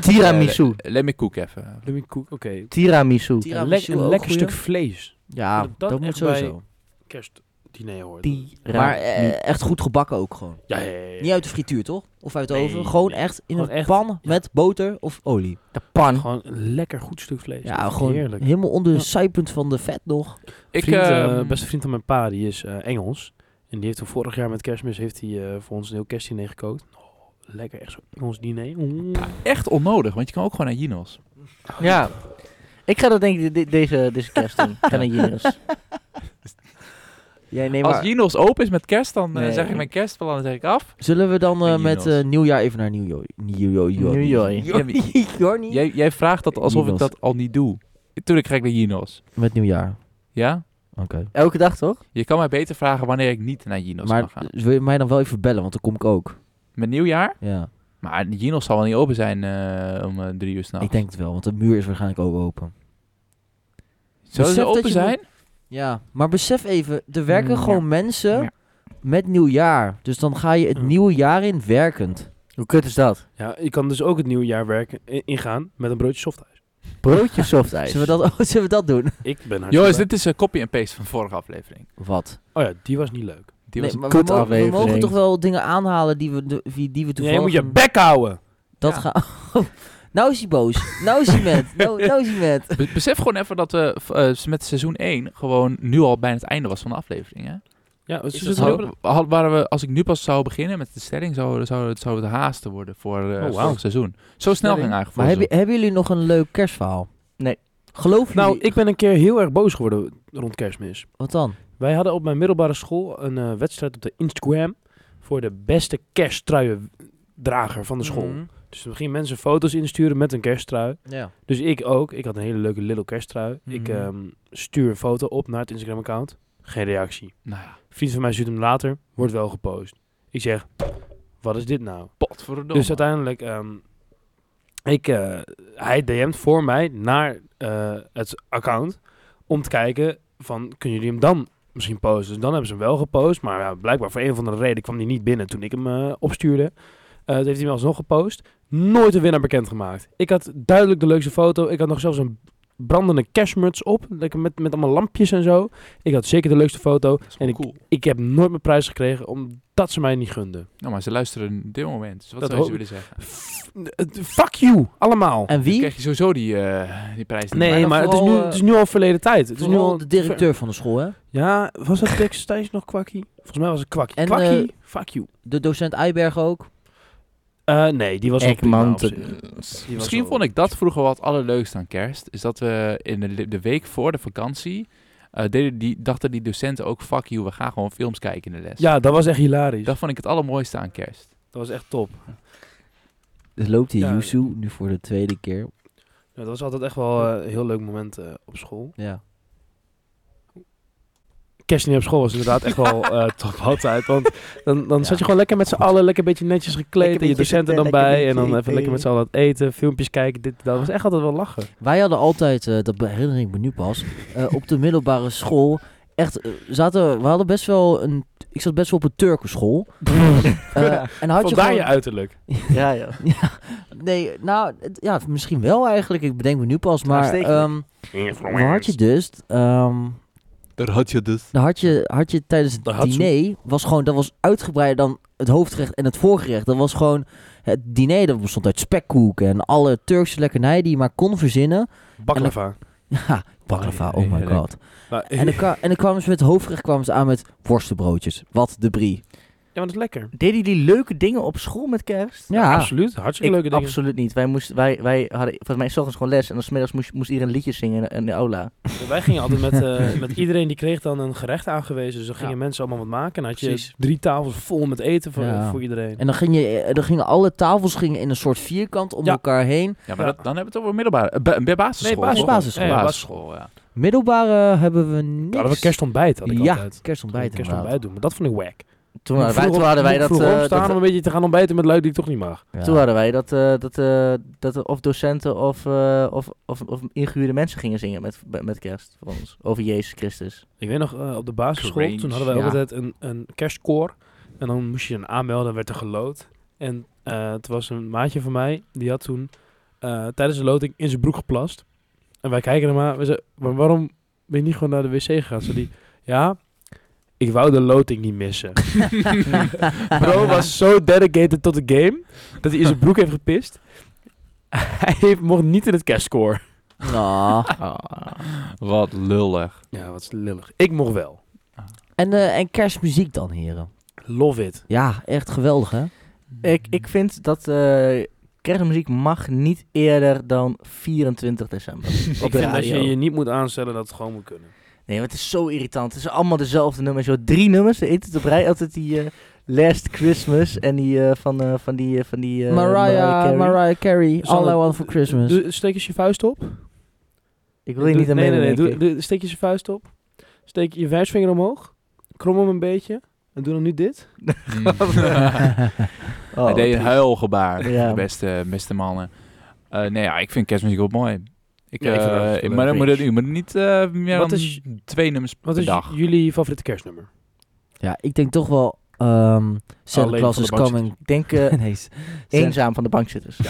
Speaker 5: Tiramisu.
Speaker 3: Eh, Let me cook even.
Speaker 4: Lemmy koek, oké.
Speaker 5: Tiramisu.
Speaker 4: Een, lek-
Speaker 1: Tiramisu,
Speaker 4: een
Speaker 1: ook
Speaker 4: lekker
Speaker 1: goeie.
Speaker 4: stuk vlees.
Speaker 1: Ja,
Speaker 4: Dat
Speaker 1: dat,
Speaker 4: echt
Speaker 1: moet sowieso.
Speaker 4: Kerstdiner hoort.
Speaker 1: Maar
Speaker 5: Tiramisu.
Speaker 1: eh, echt goed gebakken ook gewoon.
Speaker 4: ja, ja, ja, ja.
Speaker 1: Niet uit de frituur, toch? Of uit de
Speaker 4: Nee,
Speaker 1: oven. Gewoon
Speaker 4: nee.
Speaker 1: echt in
Speaker 4: Gewoon
Speaker 1: een
Speaker 4: echt,
Speaker 1: pan
Speaker 4: ja.
Speaker 1: met boter of olie.
Speaker 5: de pan.
Speaker 4: Gewoon een lekker goed stuk vlees. Dat
Speaker 1: Ja,
Speaker 4: is
Speaker 1: gewoon
Speaker 4: Heerlijk.
Speaker 1: helemaal onder de
Speaker 4: Ja.
Speaker 1: zijpunt van de vet nog.
Speaker 3: Ik,
Speaker 4: vriend,
Speaker 3: eh,
Speaker 1: ehm,
Speaker 4: eh, beste vriend van mijn pa, die is eh, Engels. En die heeft toen vorig jaar met kerstmis heeft hij, eh, voor ons een heel kerstdiner gekookt. Oh, lekker, echt zo'n Engels diner. Mm.
Speaker 3: echt onnodig, want je kan ook gewoon naar Jinos.
Speaker 5: Ja. Ik ga dat denk ik de- de- deze, deze kerst doen. dus. Ik ga naar Jinners.
Speaker 1: Jij neemt
Speaker 3: Als Jinos open is met kerst, dan eh,
Speaker 5: Nee.
Speaker 3: zeg ik mijn kerstplan dan zeg ik af.
Speaker 1: Zullen we dan eh,
Speaker 3: En
Speaker 1: met
Speaker 3: Jinos.
Speaker 1: eh, nieuwjaar even naar New York? New York.
Speaker 5: New York.
Speaker 3: Ja, maar j-
Speaker 1: Jorni.
Speaker 3: jij, jij vraagt dat alsof
Speaker 1: Jinos.
Speaker 3: ik dat al niet doe. Tuurlijk ga ik naar Jinos.
Speaker 1: Met nieuwjaar.
Speaker 3: Ja?
Speaker 1: Oké.
Speaker 5: Elke dag toch?
Speaker 3: Je kan mij beter vragen wanneer ik niet naar Jinos kan
Speaker 1: Maar
Speaker 3: gaan.
Speaker 1: eh, wil je mij dan wel even bellen, want dan kom ik ook.
Speaker 3: Met nieuwjaar?
Speaker 1: Ja,
Speaker 3: Maar Jinos zal wel niet open zijn eh, om eh, drie uur s'nachts.
Speaker 1: ik denk het wel, want de muur is waarschijnlijk ook open.
Speaker 3: Zullen
Speaker 1: Besef
Speaker 3: ze
Speaker 1: dat
Speaker 3: open
Speaker 1: je
Speaker 3: zijn?
Speaker 1: Ja, maar besef even, er werken
Speaker 3: Ja.
Speaker 1: gewoon mensen
Speaker 3: Ja.
Speaker 1: met nieuwjaar. Dus dan ga je het
Speaker 4: Ja.
Speaker 1: nieuwe jaar in werkend.
Speaker 5: Hoe kut is dat?
Speaker 4: Ja, je kan dus ook het nieuwe jaar werken, i- ingaan met een broodje softijs.
Speaker 5: Broodje softijs.
Speaker 1: Zullen we dat, oh, zullen we dat doen?
Speaker 4: Ik ben hartstikke
Speaker 3: Jongens,
Speaker 4: blij.
Speaker 3: dit is een copy en paste van vorige aflevering.
Speaker 1: Wat?
Speaker 4: Oh ja, die was niet leuk.
Speaker 3: Die was...
Speaker 1: maar
Speaker 5: kut
Speaker 1: we, mogen, we
Speaker 5: aflevering.
Speaker 1: mogen toch wel dingen aanhalen die we, de- die, die we
Speaker 4: Nee, je
Speaker 1: toevallig...
Speaker 4: moet je
Speaker 1: een-
Speaker 4: bek houden.
Speaker 1: Dat
Speaker 3: Ja.
Speaker 1: ga. nou is hij boos. Nou is hij met. Nou, nou is hij met.
Speaker 3: Be- Besef gewoon even dat we v- eh, met seizoen 1 gewoon nu al bijna het einde was van de aflevering. Hè?
Speaker 4: Ja, dus
Speaker 1: Is
Speaker 4: we
Speaker 1: dat
Speaker 4: zitten
Speaker 1: zo?
Speaker 4: nu op-
Speaker 3: Had- waren we, als ik nu pas zou beginnen met de stelling, zou, zou, het- zou het haasten worden voor eh,
Speaker 4: wauw.
Speaker 3: vorig seizoen. Zo snel
Speaker 5: Stelling.
Speaker 3: ging eigenlijk
Speaker 1: Oh, Maar
Speaker 3: vorig
Speaker 1: hebben, hebben jullie nog een leuk kerstverhaal?
Speaker 5: Nee.
Speaker 1: Geloof jullie?
Speaker 4: Nou, ik ben een keer heel erg boos geworden rond kerstmis.
Speaker 1: Wat dan?
Speaker 4: Wij hadden op mijn middelbare school een eh, wedstrijd op de Instagram voor de beste kersttruiendrager van de school.
Speaker 3: Mhm.
Speaker 1: Mm.
Speaker 4: Dus toen gingen mensen foto's insturen met een kersttrui.
Speaker 1: Ja.
Speaker 4: Dus ik ook. Ik had een hele leuke little kersttrui. Ik
Speaker 3: Mhm.
Speaker 4: ehm, stuur een foto op naar het Instagram-account. Geen reactie.
Speaker 3: Nou ja,
Speaker 4: Vriend van mij stuurt hem later. Wordt wel gepost. Ik zeg, wat is dit nou?
Speaker 3: potverdomme.
Speaker 4: Dus uiteindelijk, ehm, ik, eh, hij DM't voor mij naar eh, het account om te kijken van, kunnen jullie hem dan misschien posten? Dus dan hebben ze hem wel gepost, maar ja, blijkbaar voor een of andere reden kwam hij niet binnen toen ik hem eh, opstuurde. Eh dat heeft hij hem alsnog gepost. Nooit een winnaar bekendgemaakt. Ik had duidelijk de leukste foto. Ik had nog zelfs een brandende kerstmuts op. Lekker met, met allemaal lampjes en zo. Ik had zeker de leukste foto.
Speaker 3: Dat is
Speaker 4: En
Speaker 3: wel cool.
Speaker 4: Ik heb nooit mijn prijs gekregen omdat ze mij niet gunden.
Speaker 3: Nou, maar ze luisteren op dit moment. Dus wat
Speaker 4: Dat
Speaker 3: zou je
Speaker 4: hoop
Speaker 3: ze willen zeggen?
Speaker 4: F- Fuck you, allemaal.
Speaker 1: En
Speaker 3: Dan
Speaker 1: wie?
Speaker 3: krijg je sowieso die, eh, die prijs niet.
Speaker 4: Nee,
Speaker 1: dan
Speaker 4: maar het is, nu,
Speaker 1: vooral, eh,
Speaker 4: het is nu al verleden tijd. Het is nu
Speaker 1: Vooral
Speaker 4: al
Speaker 1: de directeur van de school, hè?
Speaker 4: Ja, was dat destijds nog kwakkie? Volgens mij was het kwakkie.
Speaker 1: En,
Speaker 4: kwakkie?
Speaker 1: eh,
Speaker 4: Fuck you.
Speaker 1: De docent Eiberg ook.
Speaker 4: Eh, nee, die was ook prima op zich. Die was
Speaker 3: Misschien
Speaker 4: wel-
Speaker 3: vond ik dat vroeger wat allerleukst aan kerst. Is dat we in de, de week voor de vakantie... eh, deden die, dachten die docenten ook... Fuck you, we gaan gewoon films kijken in de les.
Speaker 4: Ja, dat was echt hilarisch. Dat,
Speaker 3: Dat vond ik het allermooiste aan kerst.
Speaker 4: was echt top.
Speaker 1: Dus loopt die
Speaker 4: Ja.
Speaker 1: Yusu nu voor de tweede keer.
Speaker 4: Ja, dat was altijd echt wel eh, een heel leuk moment eh, op school.
Speaker 1: Ja.
Speaker 4: Kerst niet op school was inderdaad echt wel eh, top altijd. Want dan, dan
Speaker 1: Ja.
Speaker 4: zat je gewoon lekker met z'n allen, lekker beetje netjes gekleed.
Speaker 5: Lekker
Speaker 4: en je
Speaker 5: beetje
Speaker 4: docenten dan
Speaker 5: zitten, lekker
Speaker 4: bij. En dan
Speaker 5: beetje
Speaker 4: even lekker met z'n allen wat eten, filmpjes kijken. Dit, dat was echt altijd wel lachen.
Speaker 1: Wij hadden altijd, eh, dat herinner ik me nu pas, eh, op de middelbare school echt, eh, zaten, we hadden best wel een, ik zat best wel op een Turkenschool. Eh, en had
Speaker 4: Vandaar
Speaker 1: je gewoon,
Speaker 4: je, uiterlijk.
Speaker 5: Ja, joh.
Speaker 1: Nee, nou, het- ja, misschien wel eigenlijk, ik bedenk me nu pas, maar
Speaker 5: Uitstekend.
Speaker 1: ehm dan had je dus, ehm
Speaker 3: Daar had je dus.
Speaker 1: dan had je, had je tijdens het
Speaker 4: Dan had ze-
Speaker 1: diner, was gewoon, dat was uitgebreider dan het hoofdgerecht en het voorgerecht. Dat was gewoon, het diner dat bestond uit spekkoeken en alle Turkse lekkernijen die je maar kon verzinnen.
Speaker 4: Baklava.
Speaker 1: Ja, baklava, oh my
Speaker 3: Heerlijk.
Speaker 1: god.
Speaker 4: Maar-
Speaker 1: En dan, kwa- en dan kwamen ze met hoofdgerecht kwamen ze aan met worstenbroodjes. Wat de brie.
Speaker 4: Ja, maar dat is lekker.
Speaker 5: Deden jullie leuke dingen op school met kerst?
Speaker 1: Ja,
Speaker 4: Absoluut, hartstikke
Speaker 5: Ah, Ik,
Speaker 4: leuke dingen.
Speaker 5: absoluut niet. Wij, moesten, wij, wij hadden volgens mij 's ochtends gewoon les en dan 's middags moest, moest iedereen liedjes zingen in de, in de aula.
Speaker 4: Wij gingen altijd met, eh, met iedereen die kreeg dan een gerecht aangewezen. Dus dan gingen
Speaker 5: Ja.
Speaker 4: mensen allemaal wat maken. En dan had je
Speaker 5: Precies.
Speaker 4: drie tafels vol met eten voor,
Speaker 1: Ja.
Speaker 4: voor iedereen.
Speaker 1: En dan, ging je, eh, dan gingen alle tafels gingen in een soort vierkant om
Speaker 4: Ja.
Speaker 1: elkaar heen.
Speaker 3: Ja, maar
Speaker 4: Ja.
Speaker 3: Dat, dan hebben we het over middelbare... eh, ba- bij basisschool.
Speaker 4: Nee, basisschool.
Speaker 3: toch?
Speaker 1: Basisschool.
Speaker 3: Ja,
Speaker 4: Ja,
Speaker 3: basisschool, ja.
Speaker 1: Middelbare hebben we niks.
Speaker 4: Hadden we kerstontbijt, had ik
Speaker 1: ja,
Speaker 4: altijd.
Speaker 1: kerstontbijt
Speaker 4: kerstontbijt
Speaker 1: inderdaad.
Speaker 4: doen, maar dat vond ik wack.
Speaker 5: Toen hadden wij, toen hadden wij dat...
Speaker 4: Vroeg
Speaker 5: eh,
Speaker 4: opstaan
Speaker 5: dat-
Speaker 4: om een beetje te gaan ontbijten met lui die ik toch niet mag.
Speaker 1: Ja.
Speaker 5: Toen hadden wij dat, eh, dat, eh, dat er of docenten of, eh, of, of, of ingehuurde mensen gingen zingen met, met kerst voor ons. Over Jezus Christus.
Speaker 4: Ik weet nog, eh, op de basisschool,
Speaker 3: Cringe,
Speaker 4: toen hadden wij ook
Speaker 1: ja.
Speaker 4: altijd een, een kerstkoor. En dan moest je je dan aanmelden en werd er gelood. En eh, het was een maatje van mij, die had toen eh, tijdens de loting in zijn broek geplast. En wij kijken hem aan, we zeiden, maar waarom ben je niet gewoon naar de wc gegaan? Zei die, ja, ik wou de loting niet missen. Bro was zo dedicated tot de game, dat hij in zijn broek heeft gepist. Hij heeft- mocht niet in het kerstkoor.
Speaker 1: Nou.
Speaker 4: Ah.
Speaker 3: Wat lullig.
Speaker 4: Ja, wat lullig. Ik mocht wel.
Speaker 1: En, eh, en kerstmuziek dan, heren.
Speaker 4: Love it.
Speaker 1: Ja, echt geweldig, hè?
Speaker 5: Ik, ik vind dat eh, kerstmuziek mag niet eerder dan 24 december.
Speaker 4: Ik
Speaker 5: de
Speaker 4: vind dat
Speaker 5: radio.
Speaker 4: je je niet moet aanstellen dat het gewoon moet kunnen.
Speaker 5: Nee, want het is zo irritant. Het zijn allemaal dezelfde nummers. Zo drie nummers. Ze eten het op rij. Altijd die eh, Last Christmas en die eh, van, eh, van die... eh, van die eh,
Speaker 1: Mariah,
Speaker 5: Carey.
Speaker 1: Carey. Mariah Carey,
Speaker 4: Dus
Speaker 1: All I
Speaker 4: dan-
Speaker 1: Want For Christmas.
Speaker 4: Doe- steek eens je vuist op.
Speaker 5: Ik wil je niet aan
Speaker 4: nee, nee,
Speaker 5: meedoen,
Speaker 4: nee.
Speaker 5: denk
Speaker 4: Doe,
Speaker 5: ik.
Speaker 4: doe- steek eens je vuist op. Steek je wijsvinger omhoog. Krom hem een beetje. En doe dan nu dit.
Speaker 3: Hmm.
Speaker 5: Oh,
Speaker 3: Hij deed een
Speaker 5: wat
Speaker 3: huilgebaar.
Speaker 5: Ja.
Speaker 3: De beste, beste mannen. Eh, nee, ja, ik vind kerstmuziek wel mooi. Ik,
Speaker 4: Ja, ik vind
Speaker 3: eh,
Speaker 4: dat hartstikke
Speaker 3: maar dan
Speaker 4: leuk.
Speaker 3: moet het, u moet niet eh, meer
Speaker 4: Wat
Speaker 3: dan
Speaker 4: is-
Speaker 3: twee nummers
Speaker 4: Wat
Speaker 3: per
Speaker 4: is
Speaker 3: dag.
Speaker 4: jullie favoriete kerstnummer?
Speaker 1: Ja, ik denk toch wel... ehm Santa
Speaker 4: Alleen
Speaker 1: Claus
Speaker 4: van
Speaker 1: is
Speaker 4: de bank
Speaker 1: coming.
Speaker 5: Ik denk eh,
Speaker 1: Nee, Santa,
Speaker 5: eenzaam van de bankzitters.
Speaker 4: 100%.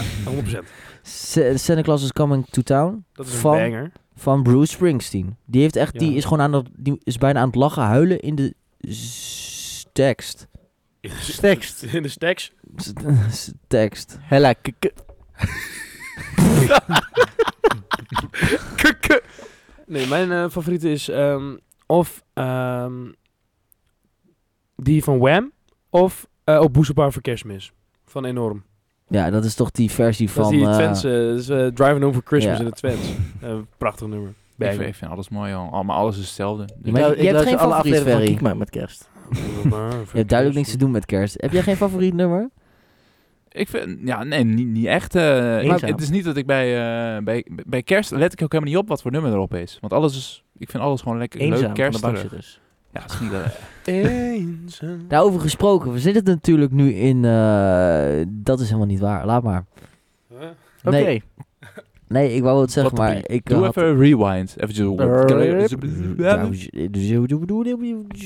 Speaker 1: Sa- Santa Claus is coming to town.
Speaker 4: Dat is een
Speaker 1: Van-
Speaker 4: banger.
Speaker 1: van Bruce Springsteen. Die heeft echt,
Speaker 4: Ja.
Speaker 1: die is gewoon aan het, die is bijna aan het lachen, huilen in de s- tekst.
Speaker 5: tekst.
Speaker 4: In de stacks.
Speaker 1: S- s- tekst.
Speaker 5: Hella, k- k-
Speaker 4: Nee, mijn eh, favoriete is ehm, of ehm, die van Wham. Of eh op Boezepaar voor Kerstmis. Van Enorm.
Speaker 1: Ja, dat is toch die versie
Speaker 4: dat
Speaker 1: van.
Speaker 4: is die
Speaker 1: eh,
Speaker 4: Twents. eh, dat is eh, Driving Home for Christmas
Speaker 1: ja.
Speaker 4: in de Twents. Eh, prachtig nummer.
Speaker 3: Ik
Speaker 4: Banger.
Speaker 3: vind, ik vind alles mooi, joh. Al- maar alles is hetzelfde. Dus-
Speaker 1: Maar
Speaker 5: Nou,
Speaker 1: je- je hebt
Speaker 5: luister
Speaker 1: geen
Speaker 5: alle
Speaker 1: favoriet,
Speaker 5: afleveringen van
Speaker 1: Ferry.
Speaker 5: Kiek maar met kerst.
Speaker 1: je hebt duidelijk niks te doen met kerst. Heb jij geen favoriet nummer?
Speaker 3: Ik vind, ja, nee, niet, niet echt. eh, ik-
Speaker 5: Eenzaam.
Speaker 3: het is niet dat ik bij, eh, bij, bij kerst let ik ook helemaal niet op wat voor nummer erop is. Want alles is, ik vind alles gewoon lekker
Speaker 5: Eenzaam
Speaker 3: leuk
Speaker 5: van de
Speaker 3: kersterig.
Speaker 5: bankzitters.
Speaker 3: Ja, het is niet dat-
Speaker 4: Eenzaam.
Speaker 1: Daarover gesproken, we zitten natuurlijk nu in. eh, dat is helemaal niet waar, laat maar.
Speaker 4: Huh?
Speaker 5: Oké.
Speaker 1: Nee, nee ik wou het zeggen,
Speaker 4: Wat een
Speaker 1: maar ik.
Speaker 3: Doe
Speaker 1: eh, had- Nou,
Speaker 3: even een rewind. Even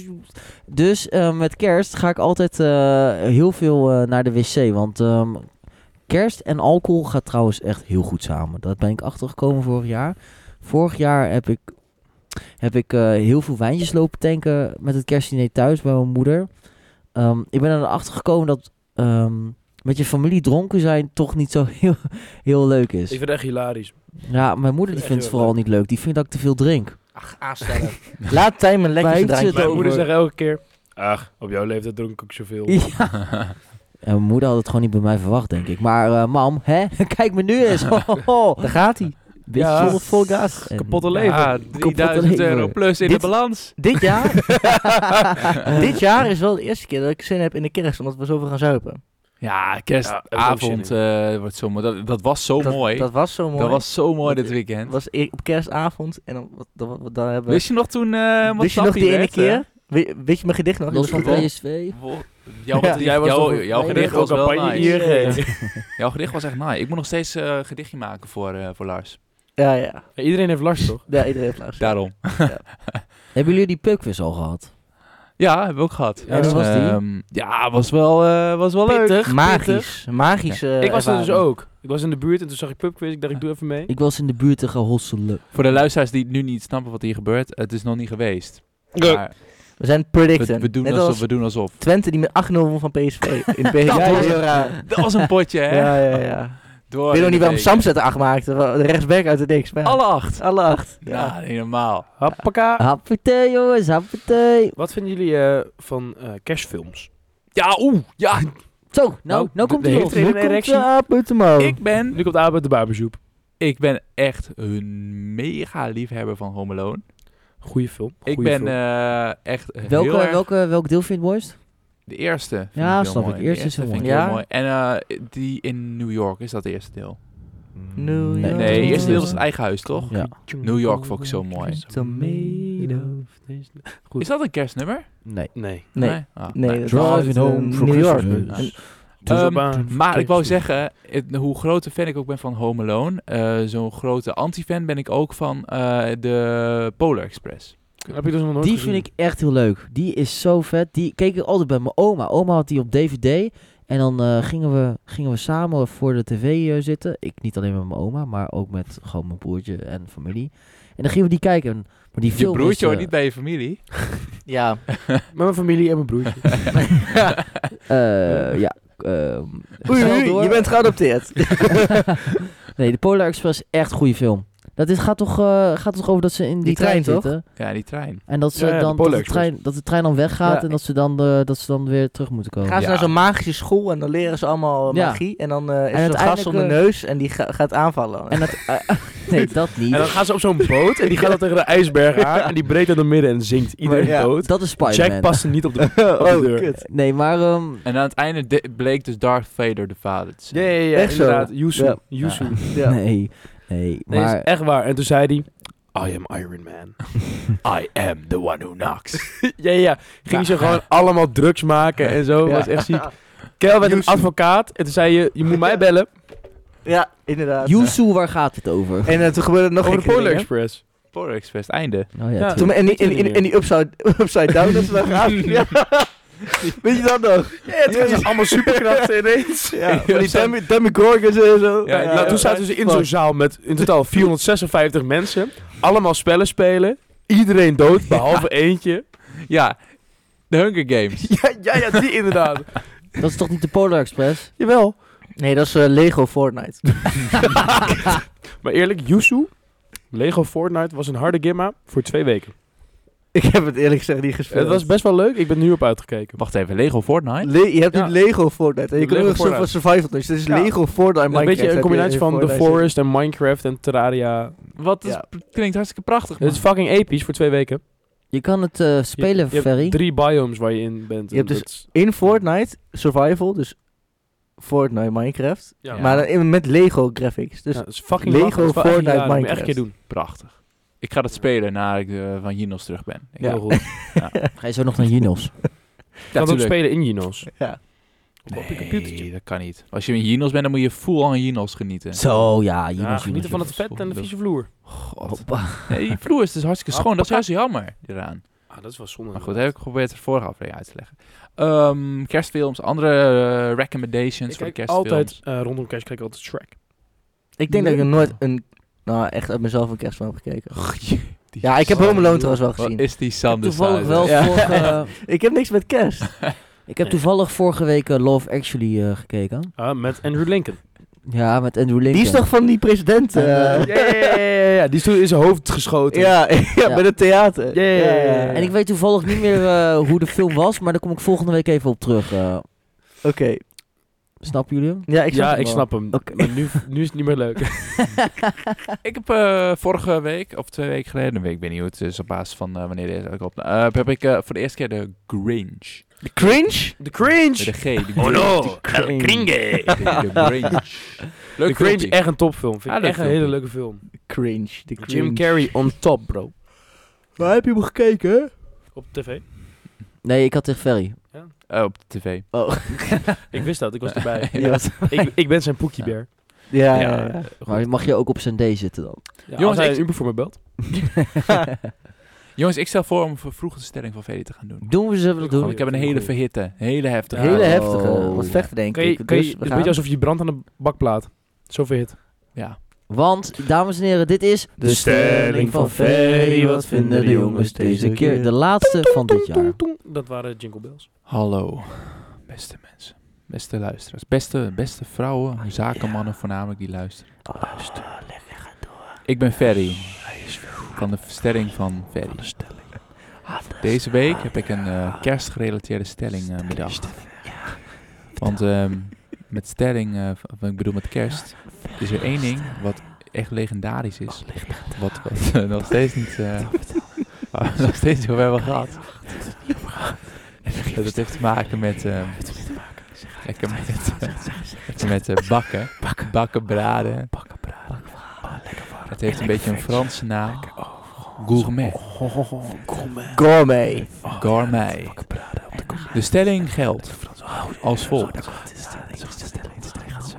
Speaker 3: zo.
Speaker 1: Dus eh, met kerst ga ik altijd eh, heel veel eh, naar de wc. Want ehm, kerst en alcohol gaat trouwens echt heel goed samen. Dat ben ik achtergekomen vorig jaar. Vorig jaar heb ik, heb ik eh, heel veel wijntjes lopen tanken met het kerstdiner thuis bij mijn moeder. Ehm, ik ben erachter gekomen dat ehm, met je familie dronken zijn toch niet zo heel, heel leuk
Speaker 4: Ik vind
Speaker 1: is.
Speaker 4: het echt hilarisch.
Speaker 1: Ja, mijn moeder die
Speaker 4: Echt
Speaker 1: vindt het
Speaker 4: heel
Speaker 1: vooral
Speaker 4: leuk.
Speaker 1: niet leuk. Die vindt dat ik te veel drink.
Speaker 3: Ach, aanstellen.
Speaker 5: Laat Tijmen lekker
Speaker 1: Wijntje
Speaker 5: zijn drankje
Speaker 4: Mijn
Speaker 1: over.
Speaker 4: moeder zegt elke keer, ach, op jouw leeftijd dronk ik ook zoveel.
Speaker 1: Ja. En mijn moeder had het gewoon niet bij mij verwacht, denk ik. Maar eh, mam, hè? kijk me nu eens. Oh. Ho, ho, ho.
Speaker 5: Daar gaat hij.
Speaker 1: Beetje
Speaker 4: Ja.
Speaker 1: zonder vol gas. En-
Speaker 4: Kapotte leven.
Speaker 3: ja,
Speaker 1: Kapot
Speaker 3: 3000
Speaker 1: leven.
Speaker 3: euro plus in
Speaker 5: Dit-
Speaker 3: de balans.
Speaker 5: Dit jaar, dit jaar is wel de eerste keer dat ik zin heb in de kerst, omdat we zoveel gaan zuipen.
Speaker 3: Ja,
Speaker 4: Ja, dat is ook
Speaker 3: kerstavond eh, wordt zo mooi. Dat, dat was zo
Speaker 5: dat,
Speaker 3: mooi. Dat,
Speaker 5: Dat was zo mooi.
Speaker 3: was zo mooi dit
Speaker 5: Het
Speaker 3: weekend.
Speaker 5: was e- op kerstavond en dan, wat- dan, wat- dan hebben we...
Speaker 3: Wist je nog toen eh wat
Speaker 5: Wist je nog
Speaker 3: Tappie
Speaker 5: die ene
Speaker 3: werd, eh?
Speaker 5: keer? We- weet je mijn gedicht nog?
Speaker 1: Los van
Speaker 5: Ik was nog-
Speaker 1: PSV.
Speaker 3: Wo- Jouw,
Speaker 5: Ja.
Speaker 3: ged- jij was
Speaker 4: Jouw-
Speaker 3: jouw, jouw
Speaker 1: Nee,
Speaker 3: gedicht
Speaker 1: nee,
Speaker 3: was wel nice.
Speaker 5: hier.
Speaker 3: Jouw gedicht was echt nice. Ik moet nog steeds eh, een gedichtje maken voor, eh, voor Lars.
Speaker 5: Ja, ja.
Speaker 4: Iedereen heeft last, toch?
Speaker 5: Ja, iedereen heeft luisterd.
Speaker 3: Daarom.
Speaker 1: Hebben jullie die pubquiz al gehad?
Speaker 3: Ja, hebben we ook gehad.
Speaker 1: Ja, dat was die.
Speaker 3: Ehm, ja, was wel, eh, was wel leuk.
Speaker 4: Pittig, pittig.
Speaker 5: Magisch. Magisch. eh,
Speaker 4: Ik was er dus
Speaker 5: ervaring.
Speaker 4: ook. Ik was in de buurt en toen zag ik pubquiz. Ik dacht, ik doe even mee.
Speaker 1: Ik was in de buurt te gaan hosselen.
Speaker 3: Voor de luisteraars die nu niet snappen wat hier gebeurt, het is nog niet geweest.
Speaker 4: Ja.
Speaker 3: Maar
Speaker 5: We zijn
Speaker 3: we,
Speaker 5: predicten.
Speaker 3: we, doen
Speaker 5: Net
Speaker 3: alsof,
Speaker 5: als
Speaker 3: we doen alsof.
Speaker 5: Twente die met 8-0 won van PSV. In de beker.
Speaker 3: Dat
Speaker 5: ja,
Speaker 3: was-
Speaker 5: heel raar.
Speaker 3: Dat was een potje, hè? Oh,
Speaker 5: Ja, ja, ja.
Speaker 3: Door
Speaker 5: Ik weet
Speaker 3: in
Speaker 5: nog niet
Speaker 3: de
Speaker 5: waarom
Speaker 3: week.
Speaker 5: Samzet er 8 maakte. wa- De rechtsback uit het niks. maar ja.
Speaker 3: Alle acht.
Speaker 5: Alle acht.
Speaker 3: Ja,
Speaker 5: Ja.
Speaker 3: niet normaal.
Speaker 4: Happaka.
Speaker 1: Happetee jongens, happetee.
Speaker 4: Wat vinden jullie eh, van eh, cashfilms?
Speaker 3: Ja, oeh. Ja,
Speaker 1: Zo, nou, nou,
Speaker 4: de-
Speaker 1: komt
Speaker 4: de
Speaker 1: hij
Speaker 4: hele
Speaker 1: op.
Speaker 4: trainer
Speaker 1: Nu komt
Speaker 4: erectie.
Speaker 1: de-
Speaker 5: Ja, Boeteman.
Speaker 3: ik ben,
Speaker 4: Nu komt Abe uit de barbershop.
Speaker 3: Oh. ik ben echt een mega liefhebber van Home Alone.
Speaker 4: Goeie film.
Speaker 3: Ik
Speaker 4: goeie
Speaker 3: ben
Speaker 4: film.
Speaker 3: eh, echt
Speaker 1: Welke,
Speaker 3: heel erg...
Speaker 1: welke, welk deel vind je het mooist?
Speaker 3: De eerste vind
Speaker 1: Ja,
Speaker 3: ik heel
Speaker 1: snap
Speaker 3: mooi.
Speaker 1: ik.
Speaker 3: De
Speaker 1: Eerste is heel
Speaker 3: vind ik
Speaker 5: mooi.
Speaker 3: heel
Speaker 5: Ja?
Speaker 3: mooi. En eh, die in New York, is dat de eerste deel?
Speaker 5: New
Speaker 1: Nee,
Speaker 5: York.
Speaker 3: Nee, het
Speaker 1: de
Speaker 3: eerste deel was
Speaker 1: eerste.
Speaker 3: het eigen huis, toch?
Speaker 1: Ja.
Speaker 3: eh, New York vond ik zo mooi.
Speaker 4: Goed.
Speaker 3: Is dat een kerstnummer?
Speaker 1: Nee.
Speaker 4: Nee.
Speaker 5: Nee.
Speaker 3: Ah,
Speaker 5: Nee,
Speaker 3: nee.
Speaker 5: dat
Speaker 1: Driving
Speaker 5: was,
Speaker 1: home
Speaker 5: eh,
Speaker 1: for
Speaker 5: New York.
Speaker 1: Christmas.
Speaker 5: En-
Speaker 4: Doe
Speaker 3: Ehm,
Speaker 4: zo maar.
Speaker 3: Maar ik wou
Speaker 4: Kerstfilm.
Speaker 3: zeggen, het- hoe grote fan ik ook ben van Home Alone, eh, zo'n grote anti-fan ben ik ook van eh, de Polar Express.
Speaker 4: Heb je dus nog nooit
Speaker 1: Die vind ik echt heel leuk. Die is zo vet. Die keek ik altijd bij mijn oma. Oma had die op DVD. En dan eh, gingen, we, gingen we samen voor de tv eh, zitten. Ik niet alleen met mijn oma, maar ook met gewoon mijn broertje en familie. En dan gingen we die kijken. En- Maar die
Speaker 3: Je
Speaker 1: film is,
Speaker 3: broertje hoor,
Speaker 1: eh,
Speaker 3: niet bij je familie.
Speaker 5: Ja.
Speaker 4: Met mijn familie en mijn broertje.
Speaker 1: eh, ja. ehm,
Speaker 5: Oei,
Speaker 1: snel
Speaker 5: oei,
Speaker 1: door.
Speaker 5: je bent geadopteerd.
Speaker 1: nee, de Polar Express is echt een goede film. Dat is, gaat, toch, eh, gaat toch over dat ze in die,
Speaker 5: Die trein, toch?
Speaker 1: zitten?
Speaker 3: Ja, die trein.
Speaker 1: En dat, ze
Speaker 4: Ja, ja, de
Speaker 1: dan,
Speaker 4: Polar
Speaker 1: dat, de
Speaker 4: Express.
Speaker 1: trein, dat de trein dan weggaat
Speaker 5: Ja,
Speaker 1: en dat ze, dan, eh, dat ze dan weer terug moeten komen.
Speaker 5: Gaan ze
Speaker 3: Ja.
Speaker 5: naar zo'n magische school en dan leren ze allemaal eh,
Speaker 1: Ja.
Speaker 5: magie. En dan eh,
Speaker 1: En
Speaker 5: is er een gast
Speaker 1: uiteindelijk,
Speaker 5: om de
Speaker 1: eh,
Speaker 5: neus en die ga- gaat aanvallen.
Speaker 1: En dat, eh, nee, dat niet.
Speaker 4: En dan gaan ze op zo'n boot en die gaat dan tegen de ijsberg aan. En die breekt door de midden en zinkt iedereen
Speaker 5: Maar ja,
Speaker 4: dood.
Speaker 1: Dat is
Speaker 4: Jack
Speaker 1: Spider-Man.
Speaker 4: past er niet op de, op de
Speaker 5: oh,
Speaker 4: deur.
Speaker 5: kut.
Speaker 1: Nee, maar ehm,
Speaker 3: En aan het einde de- bleek dus Darth Vader de vader te
Speaker 4: Ja,
Speaker 3: zijn.
Speaker 4: ja, ja,
Speaker 5: Echt zo.
Speaker 4: inderdaad. Yuzu.
Speaker 5: Ja.
Speaker 4: Yuzu. Nee,
Speaker 5: Ja.
Speaker 1: nee, nee,
Speaker 4: maar...
Speaker 1: maar
Speaker 4: is echt waar. En toen zei hij... I am Iron Man.
Speaker 3: I am the one who knocks.
Speaker 4: ja, ja. Ging ze gewoon allemaal drugs maken en zo.
Speaker 5: Ja.
Speaker 4: was echt ziek. Kel werd een advocaat. En toen zei je, je moet mij bellen.
Speaker 5: Ja, inderdaad.
Speaker 1: Yuzu, waar gaat het over?
Speaker 5: En eh, toen gebeurde er nog
Speaker 4: Over
Speaker 5: een
Speaker 4: de Polar Express.
Speaker 3: Polar Express, einde.
Speaker 1: Oh, ja,
Speaker 4: Ja.
Speaker 1: tuurlijk.
Speaker 5: Toen, en, die, en, die- en die upside, upside down, dat ze dan gaan. Ja. Weet je dat nog?
Speaker 4: Ja, het
Speaker 5: Ja, ja.
Speaker 4: allemaal superkrachten ineens.
Speaker 5: Ja, van die
Speaker 4: zo-
Speaker 5: Demi, Demigorgons en zo.
Speaker 3: Ja,
Speaker 4: Nou, toen zaten ze in zo'n zaal met in totaal 456 mensen. Allemaal spellen spelen. Iedereen dood, behalve eentje.
Speaker 3: Ja, de Hunger Games.
Speaker 4: Ja, ja, ja, die inderdaad.
Speaker 1: Dat is toch niet de Polar Express?
Speaker 4: Jawel.
Speaker 5: Nee, dat is eh, Lego Fortnite.
Speaker 4: Maar eerlijk, Yusu, Lego Fortnite was een harde gimma voor twee weken.
Speaker 5: Ik heb het eerlijk gezegd niet gespeeld.
Speaker 4: Het was best wel leuk, ik ben er nu op uitgekeken.
Speaker 3: Wacht even, Lego Fortnite?
Speaker 5: Le- je hebt
Speaker 4: Ja.
Speaker 5: nu Lego Fortnite en je
Speaker 4: Lego
Speaker 5: kunt ook nog zo
Speaker 4: Fortnite.
Speaker 5: van survival dus Het is
Speaker 4: Ja.
Speaker 5: Lego Fortnite
Speaker 4: Een
Speaker 5: Minecraft.
Speaker 4: beetje
Speaker 5: heb
Speaker 4: een
Speaker 5: je
Speaker 4: combinatie
Speaker 5: in
Speaker 4: van The
Speaker 5: Fortnite zitten.
Speaker 4: Forest en Minecraft en Terraria.
Speaker 3: Wat is,
Speaker 5: Ja.
Speaker 3: klinkt hartstikke prachtig, man.
Speaker 4: Het is fucking episch voor twee weken.
Speaker 1: Je kan het eh,
Speaker 4: Je- je
Speaker 1: spelen,
Speaker 4: hebt
Speaker 1: Ferry.
Speaker 4: drie biomes waar je in bent.
Speaker 5: Je hebt
Speaker 4: en
Speaker 5: dus-
Speaker 4: dat is-
Speaker 5: In Fortnite, survival, dus Fortnite Minecraft.
Speaker 4: ja.
Speaker 3: Ja.
Speaker 5: Maar dan in- met Lego graphics. Dus
Speaker 4: Ja, het is fucking
Speaker 5: Lego
Speaker 4: lachen, het is wel echt
Speaker 5: Fortnite
Speaker 4: hilarisch, moet je echt een
Speaker 5: Minecraft.
Speaker 4: keer doen.
Speaker 3: Prachtig. Ik ga dat spelen nadat ik eh, van Jinos terug ben. Ik
Speaker 5: Ja.
Speaker 4: Heel goed.
Speaker 1: Ga je zo nog naar Jinos?
Speaker 4: Je kan ook
Speaker 3: tuurlijk.
Speaker 4: spelen in Genos.
Speaker 5: ja.
Speaker 4: op je computertje.
Speaker 3: Nee, dat kan niet. Als je in Jinos bent, dan moet je full aan Jinos genieten.
Speaker 1: Zo, ja, Jinos.
Speaker 4: Ja,
Speaker 1: Jinos,
Speaker 4: genieten van het
Speaker 1: Jinos.
Speaker 4: vet en de vieze vloer.
Speaker 3: God.
Speaker 1: Hoppa.
Speaker 3: Nee, die vloer is dus hartstikke schoon. Dat is juist jammer eraan.
Speaker 4: Ah, dat is wel zonde.
Speaker 3: Maar goed, dat heb ik geprobeerd de vorige aflevering uit te leggen. Ehm, kerstfilms, andere eh, recommendations
Speaker 4: Ik
Speaker 3: voor de
Speaker 4: kijk
Speaker 3: kerstfilms.
Speaker 4: altijd, eh, rondom kerst kijk ik altijd Shrek.
Speaker 5: Ik denk dat ik nog nooit een nou echt uit mezelf een kerstfilm heb gekeken. Ja, ik heb Home Alone trouwens wel
Speaker 3: Wat
Speaker 5: gezien.
Speaker 3: is die Sander
Speaker 1: toevallig wel
Speaker 3: Sander?
Speaker 5: Ja.
Speaker 1: vorige,
Speaker 4: Ah,
Speaker 5: Ik heb niks met kerst.
Speaker 1: ik heb toevallig vorige week eh, Love Actually eh, gekeken.
Speaker 4: Ah, met Andrew Lincoln.
Speaker 1: Ja, met Andrew Lincoln.
Speaker 5: Die is toch van die president? eh,
Speaker 1: Eh,
Speaker 4: Ja, ja, ja, ja, ja. Die is toen in zijn hoofd geschoten.
Speaker 5: ja, ja, bij het theater.
Speaker 4: Ja, ja, ja, ja.
Speaker 1: En ik weet toevallig niet meer eh, hoe de film was, maar daar kom ik volgende week even op terug. eh.
Speaker 5: Oké.
Speaker 1: snappen jullie hem?
Speaker 5: Ja, ik snap
Speaker 4: ja,
Speaker 5: hem
Speaker 4: ik
Speaker 5: wel.
Speaker 4: snap hem.
Speaker 1: Oké.
Speaker 4: Maar nu, nu is het niet meer leuk.
Speaker 3: Ik heb eh, vorige week, of twee weken geleden, een week, ik weet niet hoe het is op basis van eh, wanneer deze uitkomt, eh, heb ik eh, voor de eerste keer de Grinch.
Speaker 5: De cringe?
Speaker 4: De
Speaker 3: Nee,
Speaker 4: cringe!
Speaker 3: De G, de Grinch.
Speaker 4: Oh no, eh,
Speaker 1: El Gringe.
Speaker 3: De, de Grinch.
Speaker 4: De
Speaker 3: Leuk
Speaker 4: Grinch,
Speaker 3: filmpje.
Speaker 4: echt een topfilm. Vind
Speaker 3: Ja,
Speaker 4: ik
Speaker 3: leuk
Speaker 4: echt een
Speaker 3: filmpje.
Speaker 4: hele leuke film.
Speaker 5: Cringe. De cringe.
Speaker 4: Jim Carrey on top, bro.
Speaker 5: Waar heb je hem gekeken?
Speaker 4: Op tv.
Speaker 1: Nee, ik had tegen Ferry.
Speaker 3: Eh, op de tv.
Speaker 5: Oh,
Speaker 4: Ik wist dat, ik was erbij.
Speaker 5: ja. Ja,
Speaker 4: ik, ik ben zijn poekiebeer.
Speaker 5: ja,
Speaker 3: Ja.
Speaker 5: ja.
Speaker 1: Maar mag je ook op zijn D zitten dan?
Speaker 4: Ja,
Speaker 3: Jongens,
Speaker 4: Jongens, hij
Speaker 3: ik-
Speaker 4: een Uber voor me belt.
Speaker 3: Jongens, ik stel voor om voor vroeg de stelling van Ferry te gaan doen.
Speaker 1: Doen we ze wel
Speaker 4: Ik
Speaker 3: Want
Speaker 1: doen?
Speaker 3: ik heb een hele verhitte, een hele heftige.
Speaker 5: Hele
Speaker 1: Oh.
Speaker 5: heftige. Wat vechten denk
Speaker 4: Kan je,
Speaker 5: ik.
Speaker 4: kan je,
Speaker 5: Dus
Speaker 4: het is
Speaker 5: we
Speaker 4: een
Speaker 5: gaan.
Speaker 4: beetje alsof je brandt aan een bakplaat. Zoveel hit.
Speaker 3: Ja.
Speaker 1: Want, dames en heren, dit is...
Speaker 5: De stelling van Ferry, wat vinden de jongens deze keer?
Speaker 1: De laatste van dit jaar.
Speaker 4: Dat waren Jingle Bells.
Speaker 3: Hallo, beste mensen, beste luisteraars, beste, beste vrouwen, zakenmannen voornamelijk die luisteren.
Speaker 4: Ah,
Speaker 5: Ah, Luister.
Speaker 3: Ik ben Ferry, van de stelling van Ferry.
Speaker 5: Ah,
Speaker 3: Deze week heb ik een eh, kerstgerelateerde stelling eh, bedacht. Want ehm, met stelling, eh, v- ik bedoel met kerst, is er één ding wat echt legendarisch is. Wat, wat eh, nog steeds niet, eh, waar we nog steeds niet over hebben gehad. En Dat heeft te maken met, ehm, lekker met, eh, lekker met eh, bakken, bakken braden. Oh, Het heeft een beetje een Franse naam. Gourmet.
Speaker 5: Gourmet.
Speaker 3: Gourmet. De stelling geldt als volgt.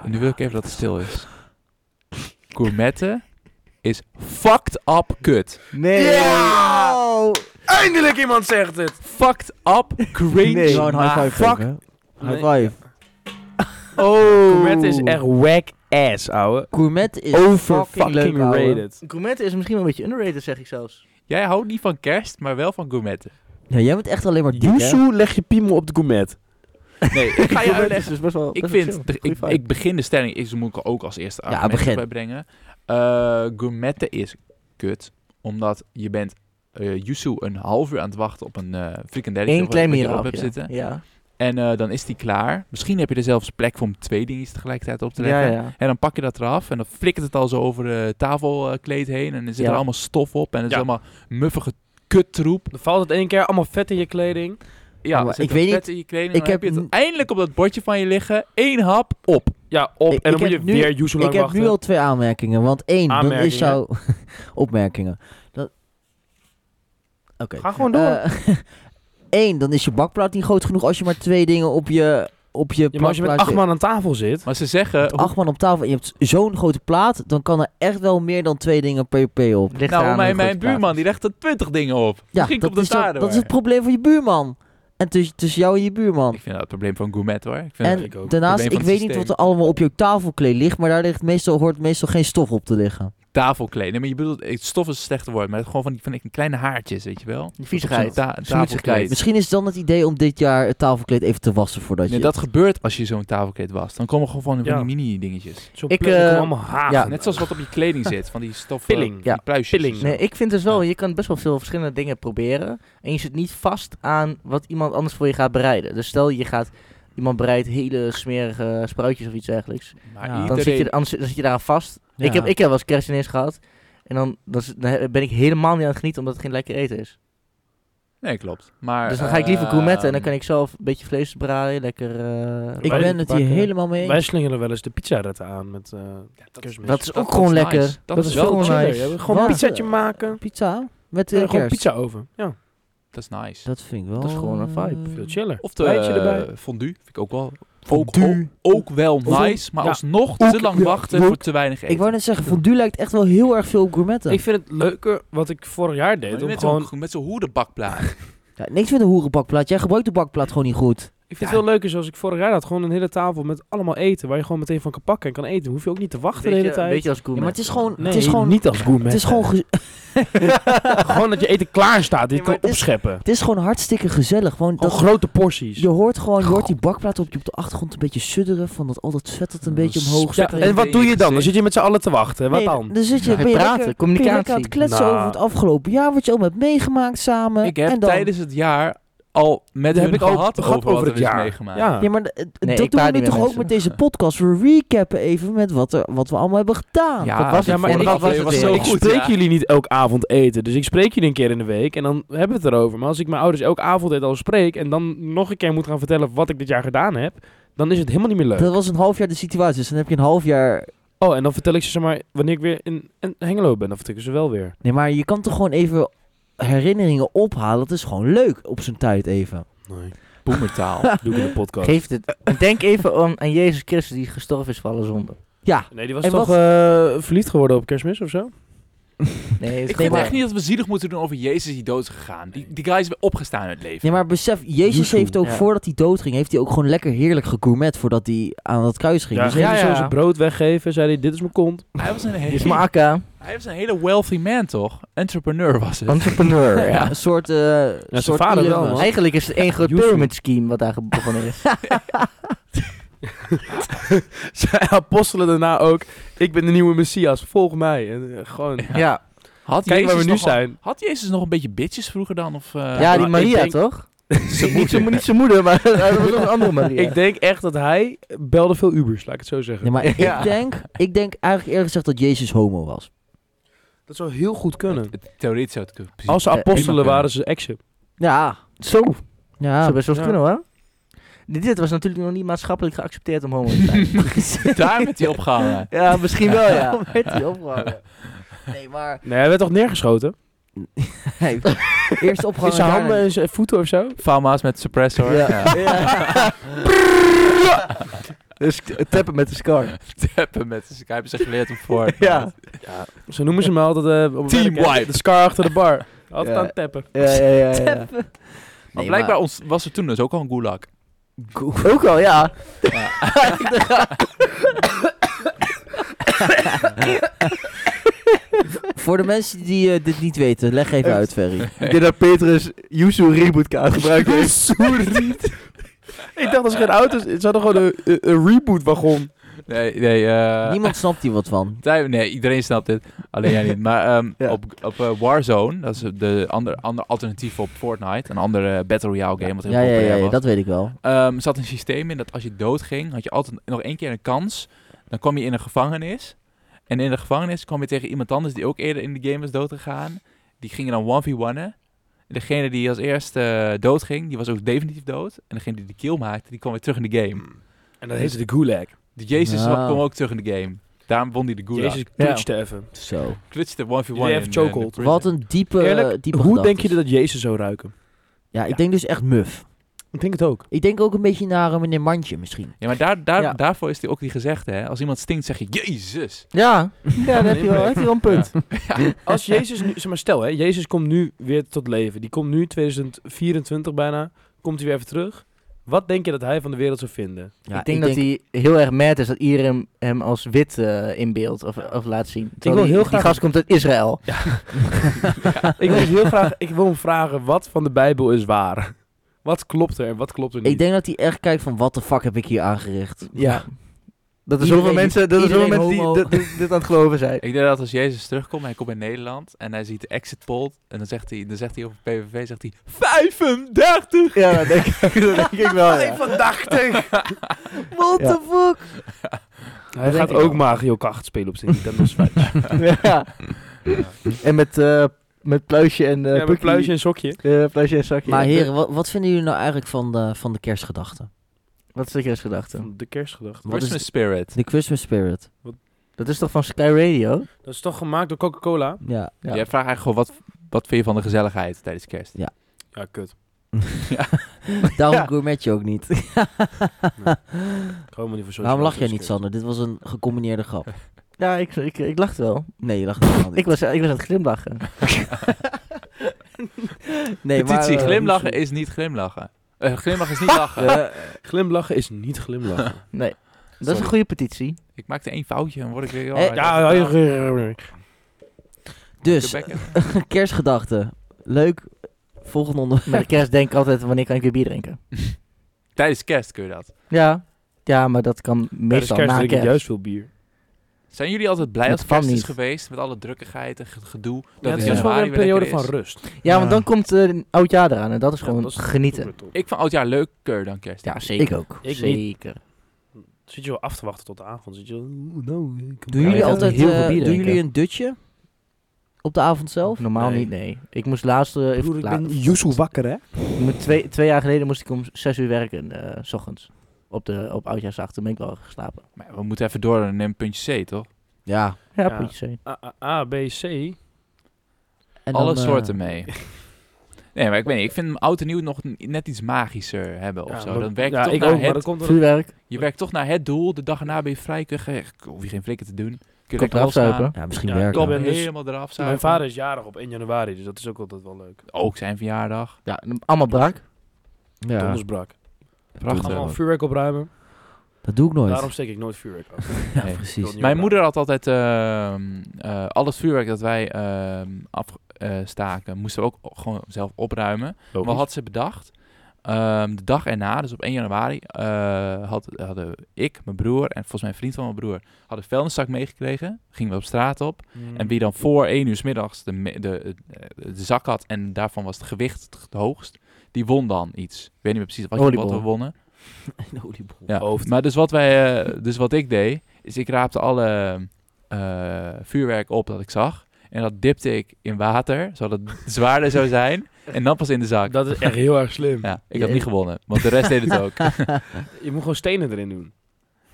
Speaker 3: En nu wil ik even dat het stil is. Gourmetten is fucked up kut.
Speaker 5: Nee.
Speaker 4: Ja! Eindelijk iemand zegt het!
Speaker 3: Fucked up cringe.
Speaker 5: Nee.
Speaker 1: Zou een high
Speaker 3: maar
Speaker 1: five
Speaker 3: fuck-
Speaker 1: geven?
Speaker 4: Nee.
Speaker 1: High five.
Speaker 5: Oh.
Speaker 4: Gourmet is echt whack ass, ouwe.
Speaker 1: Gourmet is
Speaker 4: Over
Speaker 1: fucking leuk,
Speaker 4: fucking
Speaker 1: ouwe.
Speaker 4: rated.
Speaker 5: Gourmet is misschien wel een beetje underrated, zeg ik zelfs.
Speaker 3: Jij houdt niet van kerst, maar wel van gourmetten.
Speaker 1: Ja, jij bent echt alleen maar dik, hè?
Speaker 4: Yuzu, leg je piemel op de gourmet.
Speaker 3: Nee, ik ga je
Speaker 5: Gourmet
Speaker 3: uitleggen.
Speaker 5: is dus best wel.
Speaker 3: Ik
Speaker 5: best wel
Speaker 3: vind,
Speaker 5: chill.
Speaker 3: de-
Speaker 5: Goeie
Speaker 3: ik,
Speaker 5: vibe.
Speaker 3: ik begin de stelling, ik moet ik ook als eerste
Speaker 1: Ja,
Speaker 3: argument
Speaker 1: begin.
Speaker 3: bij brengen. Eh gourmetten is kut, omdat je bent eh Yuzu een half uur aan het wachten op een eh frikandelletje
Speaker 5: Eén
Speaker 3: of
Speaker 5: klein
Speaker 3: wat je erop
Speaker 5: mierap.
Speaker 3: hebt zitten.
Speaker 5: Ja.
Speaker 3: En eh, dan is die klaar. Misschien heb je er zelfs plek voor om twee dingetjes tegelijkertijd op te
Speaker 5: Ja,
Speaker 3: leggen.
Speaker 5: ja.
Speaker 3: En dan pak je dat eraf en dan flikkert het al zo over de tafelkleed heen. En er zit
Speaker 5: Ja.
Speaker 3: er allemaal stof op en het
Speaker 4: Ja.
Speaker 3: is allemaal muffige kuttroep.
Speaker 4: Dan valt het één keer allemaal vet in je kleding.
Speaker 3: Ja,
Speaker 1: maar
Speaker 3: er zit
Speaker 1: ik
Speaker 3: wat
Speaker 1: weet
Speaker 3: vet in je kleding.
Speaker 1: ik
Speaker 3: dan heb
Speaker 1: heb
Speaker 3: je
Speaker 1: n-
Speaker 3: het eindelijk op dat bordje van je liggen. Eén hap op.
Speaker 4: Ja, op.
Speaker 1: Ik-
Speaker 4: en dan
Speaker 1: ik
Speaker 4: moet je
Speaker 1: heb nu-
Speaker 4: weer Yuzu lang
Speaker 1: Ik heb
Speaker 4: wachten.
Speaker 1: nu al twee aanmerkingen, want één, dan is
Speaker 4: Aanmerkingen.
Speaker 1: jouw... opmerkingen. Dat... Oké.
Speaker 4: Ga gewoon door.
Speaker 1: Eh, Eén, dan is je bakplaat niet groot genoeg als je maar twee dingen op je, op je
Speaker 4: ja, maar als je met
Speaker 1: plakplaatje-
Speaker 4: acht man aan tafel zit...
Speaker 3: Maar ze zeggen... hoe-
Speaker 1: acht man op tafel en je hebt zo'n grote plaat, dan kan er echt wel meer dan twee dingen per p op.
Speaker 5: Ligt
Speaker 3: nou,
Speaker 5: eraan hoe
Speaker 3: mijn,
Speaker 5: goed
Speaker 3: mijn
Speaker 5: het plaatst.
Speaker 3: buurman die legt er twintig dingen op.
Speaker 1: Ja,
Speaker 3: Misschien
Speaker 1: dat
Speaker 3: komt
Speaker 1: is,
Speaker 3: het
Speaker 1: dan-
Speaker 3: daardoor.
Speaker 1: dat is het probleem van je buurman. En tussen, tussen jou en je buurman.
Speaker 3: Ik vind dat het probleem van gourmet hoor. Ik vind
Speaker 1: en
Speaker 3: dat-
Speaker 4: ik ook.
Speaker 1: daarnaast,
Speaker 3: Probleem
Speaker 1: ik
Speaker 3: van het
Speaker 1: weet niet
Speaker 3: systeem.
Speaker 1: wat er allemaal op jouw tafelkleed ligt, maar daar ligt meestal, hoort meestal geen stof op te liggen.
Speaker 3: tafelkleed. Nee, maar je bedoelt, eh, stof is een slechte woord, maar het gewoon van die, van die kleine haartjes, weet je wel?
Speaker 5: Die viezigheid.
Speaker 3: Zo'n ta-
Speaker 5: Smoetsigheid.
Speaker 3: tafelkleed.
Speaker 1: Misschien is het dan het idee om dit jaar het tafelkleed even te wassen voordat
Speaker 3: Nee,
Speaker 1: je...
Speaker 3: dat gebeurt als je zo'n tafelkleed was. Dan komen gewoon van die- van
Speaker 4: Ja.
Speaker 3: die mini-dingetjes.
Speaker 4: Zo'n
Speaker 5: Ik,
Speaker 4: plek, er
Speaker 5: eh,
Speaker 4: komen allemaal hagen.
Speaker 5: ja.
Speaker 3: Net zoals wat op je kleding zit, van die stof...
Speaker 4: Pilling.
Speaker 3: Ja,
Speaker 5: Ja.
Speaker 3: pluisjes.
Speaker 4: Pilling.
Speaker 5: Nee, ik vind dus wel, je kan best wel veel verschillende dingen proberen. En je zit niet vast aan wat iemand anders voor je gaat bereiden. Dus stel je gaat, iemand bereidt hele smerige spruitjes of iets dergelijks.
Speaker 3: Maar
Speaker 1: Ja.
Speaker 5: Dan
Speaker 3: iedereen...
Speaker 5: zit je, er- anders, zit- dan zit je daaraan vast.
Speaker 1: Ja.
Speaker 5: Ik, heb, ik heb wel eens kerst ineens gehad. En dan, dan, zit- dan he- ben ik helemaal niet aan het genieten omdat het geen lekker eten is.
Speaker 3: Nee, klopt. Maar,
Speaker 5: dus dan ga ik liever
Speaker 3: eh,
Speaker 5: gourmetten en
Speaker 1: ehm,
Speaker 5: dan kan ik zelf een beetje vlees braden, lekker... eh,
Speaker 1: ik
Speaker 4: Wij-
Speaker 1: ben het hier
Speaker 5: bakken.
Speaker 1: helemaal mee
Speaker 4: Wij
Speaker 1: eens.
Speaker 4: slingeren wel eens de pizzaretten aan met eh kerstmis.
Speaker 5: Dat is
Speaker 3: dat-
Speaker 5: ook gewoon
Speaker 3: dat is
Speaker 5: lekker.
Speaker 3: nice. Dat,
Speaker 5: Dat
Speaker 3: is
Speaker 5: is
Speaker 3: wel
Speaker 5: gewoon
Speaker 3: chill.
Speaker 5: nice.
Speaker 4: Je hebt Gewoon
Speaker 1: Wat?
Speaker 4: een pizzaatje maken.
Speaker 1: Pizza? Met de
Speaker 4: En gewoon
Speaker 1: kerst?
Speaker 4: pizza oven. Ja,
Speaker 3: Dat is nice.
Speaker 1: Dat vind ik wel...
Speaker 5: Dat is gewoon een vibe.
Speaker 1: eh,
Speaker 4: veel chiller.
Speaker 3: Of de
Speaker 4: Wijntje erbij.
Speaker 3: eh, fondue, vind ik ook wel... Ook, ook,
Speaker 1: Fondue.
Speaker 3: ook wel nice, maar
Speaker 4: Ja.
Speaker 3: alsnog
Speaker 1: Ook-
Speaker 3: te lang
Speaker 1: ja,
Speaker 3: wachten
Speaker 1: ook.
Speaker 3: voor te weinig eten.
Speaker 1: Ik wou net zeggen, fondue lijkt echt wel heel erg veel op gourmetten.
Speaker 4: Ik vind het leuker wat ik vorig jaar
Speaker 3: Maar
Speaker 4: deed.
Speaker 3: je
Speaker 4: Om
Speaker 3: bent
Speaker 4: gewoon,
Speaker 3: zo'n- met zo'n hoedenbakplaat.
Speaker 1: Ja, niks met een hoerenbakplaat. Jij gebruikt de bakplaat gewoon niet goed.
Speaker 4: ik Ik vind het veel leuker zoals ik vorig jaar had. Gewoon een hele tafel met allemaal eten. Waar je gewoon meteen van kan pakken en kan eten. Hoef je ook niet te wachten de hele tijd.
Speaker 5: Beetje als gourmet.
Speaker 1: maar het is gewoon...
Speaker 4: Nee,
Speaker 1: het is gewoon,
Speaker 4: niet als gourmet.
Speaker 1: het is gewoon ge-
Speaker 4: gewoon dat je eten klaar staat. Dit
Speaker 1: Nee, maar
Speaker 4: kan
Speaker 1: het is-
Speaker 4: opscheppen.
Speaker 1: Het is gewoon hartstikke gezellig. Gewoon
Speaker 4: Gewoon
Speaker 1: dat,
Speaker 4: grote porties.
Speaker 1: je hoort gewoon je hoort die bakplaat op, je op de achtergrond een beetje sudderen. Van dat al dat vet dat een beetje omhoog
Speaker 4: Ja,
Speaker 1: zit.
Speaker 4: en wat doe je dan? Dan zit je met z'n allen te wachten. Wat
Speaker 1: Nee,
Speaker 4: dan?
Speaker 1: Dan zit je,
Speaker 5: Ja,
Speaker 1: ben je
Speaker 5: praten,
Speaker 1: lekker- ben je
Speaker 5: communicatie.
Speaker 1: lekker aan het kletsen
Speaker 4: Nou.
Speaker 1: over het afgelopen jaar. Wat je allemaal hebt meegemaakt samen.
Speaker 3: Ik heb
Speaker 1: Eh, en dan,
Speaker 3: tijdens het jaar al met
Speaker 4: Dat
Speaker 3: hun
Speaker 4: heb ik ook
Speaker 3: gehad
Speaker 4: gehad
Speaker 3: over, wat
Speaker 4: over
Speaker 3: er
Speaker 4: het
Speaker 3: is
Speaker 4: jaar.
Speaker 3: meegemaakt.
Speaker 4: Ja.
Speaker 1: Ja, maar d-
Speaker 5: Nee,
Speaker 1: dat
Speaker 5: ik
Speaker 1: doen we
Speaker 5: praat
Speaker 1: nu
Speaker 5: niet
Speaker 1: toch
Speaker 5: met
Speaker 1: ook met deze podcast. We recappen even met wat, er, wat we allemaal hebben gedaan.
Speaker 3: Ja,
Speaker 5: Wat was
Speaker 4: Ja,
Speaker 5: het
Speaker 4: maar
Speaker 5: voor
Speaker 4: ik-
Speaker 5: wat was
Speaker 3: ik-
Speaker 5: het
Speaker 3: was
Speaker 5: weer?
Speaker 3: zo
Speaker 4: ik
Speaker 3: goed,
Speaker 4: spreek
Speaker 3: ja.
Speaker 4: jullie niet elke avond eten. Dus ik spreek jullie een keer in de week en dan hebben we het erover. Maar als ik mijn ouders elke avond eten al spreek en dan nog een keer moet gaan vertellen wat ik dit jaar gedaan heb, dan is het helemaal niet meer leuk.
Speaker 1: Dat was een half jaar de situatie. Dus dan heb je een half jaar...
Speaker 4: Oh, en dan vertel ik ze zeg maar wanneer ik weer in, in Hengelo ben, dan vertel ik ze wel weer.
Speaker 1: Nee, maar je kan toch gewoon even herinneringen ophalen. Dat is gewoon leuk op zijn tijd even.
Speaker 4: Nee.
Speaker 3: Boemertaal.
Speaker 4: Doe ik in de podcast.
Speaker 5: Geef het. Denk even aan, aan Jezus Christus die gestorven is voor alle zonden.
Speaker 1: Ja.
Speaker 4: Nee, die was
Speaker 1: En
Speaker 4: toch
Speaker 1: wat-
Speaker 4: eh, verliefd geworden op kerstmis of zo?
Speaker 5: Nee, het
Speaker 3: ik
Speaker 5: is
Speaker 3: vind
Speaker 5: maar-
Speaker 3: echt niet dat we zielig moeten doen over Jezus die dood is gegaan. Die, die guy is weer opgestaan uit het leven.
Speaker 1: Nee, maar besef, Jezus
Speaker 4: Joezoe,
Speaker 1: heeft ook
Speaker 5: ja.
Speaker 1: voordat hij doodging, heeft hij ook gewoon lekker heerlijk gegourmet voordat hij aan het kruis ging.
Speaker 4: Ja,
Speaker 1: Dus
Speaker 4: ging
Speaker 5: ja,
Speaker 4: hij
Speaker 5: ja.
Speaker 4: zo zijn brood weggeven, zei hij, dit is mijn kont.
Speaker 3: Hij was een
Speaker 5: Dit is
Speaker 3: hele,
Speaker 5: Maka,
Speaker 3: hij was een hele wealthy man, toch? Entrepreneur was het.
Speaker 5: entrepreneur.
Speaker 1: ja,
Speaker 5: ja.
Speaker 1: een soort... eh
Speaker 4: zijn
Speaker 1: soort
Speaker 4: vader
Speaker 1: Elon
Speaker 4: wel,
Speaker 1: Musk.
Speaker 4: man.
Speaker 5: Eigenlijk is het één groot
Speaker 4: Joezoe.
Speaker 5: pyramid scheme wat daar begonnen is.
Speaker 4: Zijn apostelen daarna ook, ik ben de nieuwe Messias, volg mij. En, eh, gewoon,
Speaker 5: ja.
Speaker 3: Had
Speaker 4: kijk waar we
Speaker 3: Jezus
Speaker 4: nu
Speaker 3: nog wel-
Speaker 4: zijn.
Speaker 3: Had Jezus nog een beetje bitches vroeger dan? Of, eh,
Speaker 5: ja,
Speaker 4: maar
Speaker 5: die
Speaker 4: ik
Speaker 5: Maria
Speaker 4: denk-
Speaker 5: toch?
Speaker 3: zijn
Speaker 5: Niet
Speaker 3: moeder?
Speaker 5: zijn, niet zijn moeder, maar dat was nog een andere Maria.
Speaker 4: Ik denk echt dat hij belde veel Ubers, laat ik het zo zeggen.
Speaker 1: Nee, maar
Speaker 5: Ja.
Speaker 1: ik, denk, ik denk eigenlijk eerlijk gezegd dat Jezus homo was.
Speaker 4: Dat zou heel goed kunnen.
Speaker 3: Het- het- Theoretisch zou het kunnen.
Speaker 4: Als ze
Speaker 5: Eh,
Speaker 4: apostelen
Speaker 3: prima
Speaker 4: waren, ze exen.
Speaker 1: Ja.
Speaker 5: Zo,
Speaker 1: Ja.
Speaker 5: zou Ah, best wel eens
Speaker 4: ja.
Speaker 5: kunnen hoor. Dit- Dit was natuurlijk nog niet maatschappelijk geaccepteerd om homo te zijn.
Speaker 3: Daar met die opgehangen.
Speaker 5: ja, misschien wel ja.
Speaker 1: werd hij opgehangen. Nee, maar...
Speaker 4: Nee, hij werd toch neergeschoten?
Speaker 1: Hey, eerst opgehangen.
Speaker 4: In zijn
Speaker 1: daarna-
Speaker 4: handen en zijn voeten of zo?
Speaker 3: Fama's met suppressor.
Speaker 5: Ja.
Speaker 3: Ja.
Speaker 5: Dus t- tappen met de scar.
Speaker 3: Tappen met Skype hebben ze geleerd om voor.
Speaker 5: Ja.
Speaker 4: Zo noemen ze me altijd eh, op
Speaker 3: Team
Speaker 4: werk, hè?
Speaker 3: white.
Speaker 4: De scar achter de bar. Altijd
Speaker 5: Ja.
Speaker 4: aan het tappen.
Speaker 5: Ja, ja, ja. ja.
Speaker 3: Maar
Speaker 1: Nee,
Speaker 3: blijkbaar
Speaker 1: maar-
Speaker 3: ons- was er toen dus ook al een gulag.
Speaker 5: Ook al, ja.
Speaker 1: Voor de mensen die eh, dit niet weten, leg even uit, Ferry.
Speaker 5: Ik denk dat Petrus Yuzu rebootkaart gebruikt heeft.
Speaker 4: Ik dacht, dat is geen auto's. Ze hadden gewoon een, een, een reboot-wagon.
Speaker 3: Nee, nee. eh,
Speaker 1: Niemand snapt hier wat van.
Speaker 3: Tij- Nee, iedereen snapt dit. Alleen jij niet. Maar ehm,
Speaker 5: Ja.
Speaker 3: op, op eh, Warzone, dat is de ander, ander alternatief op Fortnite. Een andere Battle Royale game, wat heel
Speaker 1: Ja, ja,
Speaker 3: populair
Speaker 1: ja, ja,
Speaker 3: was.
Speaker 1: dat weet ik wel.
Speaker 3: Ehm, zat een systeem in dat als je doodging, had je altijd nog één keer een kans. Dan kwam je in een gevangenis. En in de gevangenis kwam je tegen iemand anders die ook eerder in de game was doodgegaan. Die gingen dan 1v1'en. Degene die als eerste eh, doodging, die was ook definitief dood. En degene die de kill maakte, die kwam weer terug in de game.
Speaker 4: En dat heette de Gulag.
Speaker 3: De Jezus
Speaker 1: Ja.
Speaker 3: kwam ook terug in de game. Daarom won hij de gulag.
Speaker 4: Jezus
Speaker 3: Jezus
Speaker 4: glitchte even.
Speaker 1: Zo.
Speaker 3: klutste 1v1
Speaker 4: Jullie
Speaker 3: in,
Speaker 4: even
Speaker 3: eh, de
Speaker 4: chokehold.
Speaker 3: prison.
Speaker 1: Wat een diepe,
Speaker 4: Eerlijk,
Speaker 1: diepe
Speaker 4: hoe denk
Speaker 1: gedachtes.
Speaker 4: je dat Jezus zou ruiken?
Speaker 1: Ja,
Speaker 4: Ja.
Speaker 1: ik denk dus echt muf.
Speaker 4: Ik denk het ook.
Speaker 1: Ik denk ook een beetje naar eh, meneer Mandje misschien.
Speaker 3: Ja, maar daar, daar,
Speaker 5: Ja.
Speaker 3: daarvoor is die ook die gezegde, hè. Als iemand stinkt, zeg je, Jezus.
Speaker 5: Ja, ja dan heb je wel, heb je wel een punt.
Speaker 4: Als Jezus nu, zeg maar stel hè, Jezus komt nu weer tot leven. Die komt nu 2024 bijna, komt hij weer even terug. Wat denk je dat hij van de wereld zou vinden?
Speaker 1: Ja,
Speaker 5: ik denk dat hij heel erg mad is dat iedereen hem, hem als wit eh inbeeldt of, of laat zien. Terwijl
Speaker 4: wil
Speaker 5: die-
Speaker 4: heel
Speaker 5: die
Speaker 4: graag-
Speaker 5: gast komt uit Israël.
Speaker 4: Ik wil heel graag, ik wil hem vragen wat van de Bijbel is waar. Wat klopt er en wat klopt er niet?
Speaker 1: Ik denk dat hij echt kijkt van, wat de fuck heb ik hier aangericht?
Speaker 5: Ja. Dat er zoveel
Speaker 1: Iedereen-
Speaker 5: mensen, dat er zoveel
Speaker 1: iedereen
Speaker 5: mensen die
Speaker 1: homo.
Speaker 5: dit, dit- dit aan het geloven zijn.
Speaker 3: Ik denk dat als Jezus terugkomt, hij komt in Nederland en hij ziet de exit poll en dan zegt hij, dan zegt hij over PVV, zegt hij 35!
Speaker 5: Ja, dat denk, ik- dat denk ik wel. Ja.
Speaker 1: What
Speaker 5: Ja.
Speaker 1: the fuck?
Speaker 4: hij
Speaker 5: denk
Speaker 4: gaat
Speaker 5: ik
Speaker 4: ook
Speaker 5: wel.
Speaker 4: Mario Kart spelen op zijn Nintendo Switch.
Speaker 5: Ja. En met, eh, met pluisje en eh
Speaker 4: ja,
Speaker 5: Pukkie.
Speaker 4: met pluisje en sokje.
Speaker 5: Eh, pluisje en zakje.
Speaker 1: Maar heren, wat, wat vinden jullie nou eigenlijk van de, van de kerstgedachten?
Speaker 5: Wat is de kerstgedachte?
Speaker 4: Van de kerstgedachte.
Speaker 1: Wat is
Speaker 3: Christmas spirit.
Speaker 1: De Christmas spirit.
Speaker 5: Dat is toch van Sky Radio?
Speaker 4: Dat is toch gemaakt door Coca-Cola?
Speaker 1: Ja.
Speaker 5: Ja.
Speaker 3: Dus Jij vraagt eigenlijk gewoon, wat, wat vind je van de gezelligheid tijdens kerst?
Speaker 4: Ja, kut.
Speaker 1: Daarom
Speaker 5: Ja.
Speaker 1: gourmet je ook niet.
Speaker 4: Ik hou helemaal niet van social
Speaker 1: Waarom lach
Speaker 4: media,
Speaker 1: jij niet,
Speaker 4: dat is
Speaker 1: Sander? Dit was een gecombineerde grap.
Speaker 5: Ja, ik, ik, ik lachte wel.
Speaker 1: Nee, je lacht helemaal niet.
Speaker 5: Ik was, ik was aan het glimlachen.
Speaker 1: nee, maar,
Speaker 3: Petitie,
Speaker 1: eh,
Speaker 3: glimlachen is niet glimlachen. Eh, glimlach is niet lachen.
Speaker 4: Glimlachen is niet glimlachen.
Speaker 5: Nee. Dat is
Speaker 3: Sorry.
Speaker 5: een goede petitie.
Speaker 3: Ik maakte één foutje en word ik weer...
Speaker 1: Eh,
Speaker 4: ja, ja, ja, ja.
Speaker 1: Dus, kerstgedachten. Leuk. Volgende onderwerp.
Speaker 5: Met de kerst denk ik altijd, wanneer kan ik weer bier drinken?
Speaker 3: Tijdens kerst kun je dat.
Speaker 5: Ja. Ja, maar dat kan meestal
Speaker 4: Tijdens kerst
Speaker 5: na
Speaker 4: drink ik
Speaker 5: kerst.
Speaker 4: juist veel bier.
Speaker 3: Zijn jullie altijd blij
Speaker 5: Dat
Speaker 3: als
Speaker 5: kan
Speaker 3: kerst is
Speaker 5: niet.
Speaker 3: geweest? Met alle drukkigheid en ge- gedoe.
Speaker 4: Ja,
Speaker 3: Dat
Speaker 4: het
Speaker 3: is
Speaker 4: is best wel weer
Speaker 3: januari
Speaker 4: een
Speaker 3: weer lekker
Speaker 4: periode
Speaker 3: is.
Speaker 4: van rust.
Speaker 5: Ja, want
Speaker 1: Ja.
Speaker 5: dan komt eh, een oud jaar eraan en dat is gewoon
Speaker 4: dat is-
Speaker 5: genieten.
Speaker 3: Ik vind oudjaar leuker dan kerst.
Speaker 5: Ja, zeker.
Speaker 1: Ik ook.
Speaker 4: Ik niet.
Speaker 5: zeker.
Speaker 4: Zit je wel af te wachten tot de avond? Zit je wel, oeh, nou, ik kom bij.
Speaker 1: Doen
Speaker 5: Ja, je
Speaker 1: jullie
Speaker 5: gaat
Speaker 1: altijd
Speaker 5: heel veel
Speaker 1: eh,
Speaker 5: bier
Speaker 1: doen
Speaker 5: drinken.
Speaker 1: jullie een dutje? Op de avond zelf?
Speaker 5: Normaal
Speaker 4: Nee.
Speaker 5: niet, nee. Ik moest laatst... eh, even
Speaker 4: Broer, ik
Speaker 5: laat-
Speaker 4: ben Yuzu wakker, hè?
Speaker 5: ik moet twee, twee jaar geleden moest ik om zes uur werken, eh, s ochtends. Op, de, op oudjaarsdag, toen ben ik wel geslapen.
Speaker 3: Maar we moeten even door en neem puntje C, toch?
Speaker 1: Ja.
Speaker 5: Ja, eh.
Speaker 4: Ja.
Speaker 5: puntje C.
Speaker 4: A, A- A, B, C.
Speaker 1: En dan,
Speaker 3: Alle
Speaker 1: eh,
Speaker 3: soorten mee. Nee, maar ik weet niet. Ik vind hem oud en nieuw nog n- net iets magischer hebben of
Speaker 4: Ja,
Speaker 3: zo.
Speaker 4: maar-
Speaker 3: Dan werk je
Speaker 4: ja,
Speaker 3: toch
Speaker 4: ik
Speaker 3: naar
Speaker 4: ook, maar
Speaker 3: het...
Speaker 4: dat komt er...
Speaker 5: Vuurwerk,
Speaker 3: Je werkt toch naar het doel. De dag erna ben je vrij. Kun je, ge- hoef je geen flikker te doen. Kun je
Speaker 5: komt
Speaker 3: lekker
Speaker 5: eraf
Speaker 3: losgaan.
Speaker 5: zuipen.
Speaker 1: Ja, misschien
Speaker 4: Ja,
Speaker 1: werken.
Speaker 4: ik
Speaker 3: Kom
Speaker 4: ben dus-
Speaker 3: helemaal eraf zuipen.
Speaker 4: Mijn vader is jarig op 1 januari, dus dat is ook altijd wel leuk.
Speaker 3: Ook zijn verjaardag.
Speaker 5: Ja, allemaal brak.
Speaker 1: Ja,
Speaker 4: Dondersbrak. Allemaal
Speaker 3: Prachtig.
Speaker 4: vuurwerk opruimen.
Speaker 1: dat doe ik nooit.
Speaker 4: Daarom steek ik nooit vuurwerk af.
Speaker 1: ja,
Speaker 4: Ik
Speaker 3: Nee.
Speaker 4: wil
Speaker 1: precies.
Speaker 4: niet
Speaker 3: Mijn
Speaker 4: opruimen.
Speaker 3: moeder had altijd ehm eh, al het vuurwerk dat wij ehm, afstaken, moesten we ook o- gewoon zelf opruimen. Wat had ze bedacht? Ehm, de dag erna, dus op 1 januari, eh, had, hadden ik, mijn broer en volgens mij een vriend van mijn broer, hadden een vuilniszak meegekregen. Gingen we op straat op.
Speaker 4: Mm.
Speaker 3: En wie dan voor 1 uur 's middags de, me- de, eh, de, de zak had en daarvan was het gewicht het hoogst, die won dan iets. Ik weet niet meer precies wat, je- wat we
Speaker 5: Oliebol.
Speaker 3: wonnen.
Speaker 1: Een oliebol.
Speaker 3: Ja.
Speaker 4: Hoofd.
Speaker 3: Maar dus wat, wij, eh, dus wat ik deed, is ik raapte alle eh, vuurwerk op dat ik zag. En dat dipte ik in water, zodat het zwaarder zou zijn. En dan pas in de zak.
Speaker 4: Dat is echt heel erg slim.
Speaker 3: Ja, ik had niet gewonnen, want de rest deed het ook.
Speaker 4: Je moet gewoon stenen erin doen.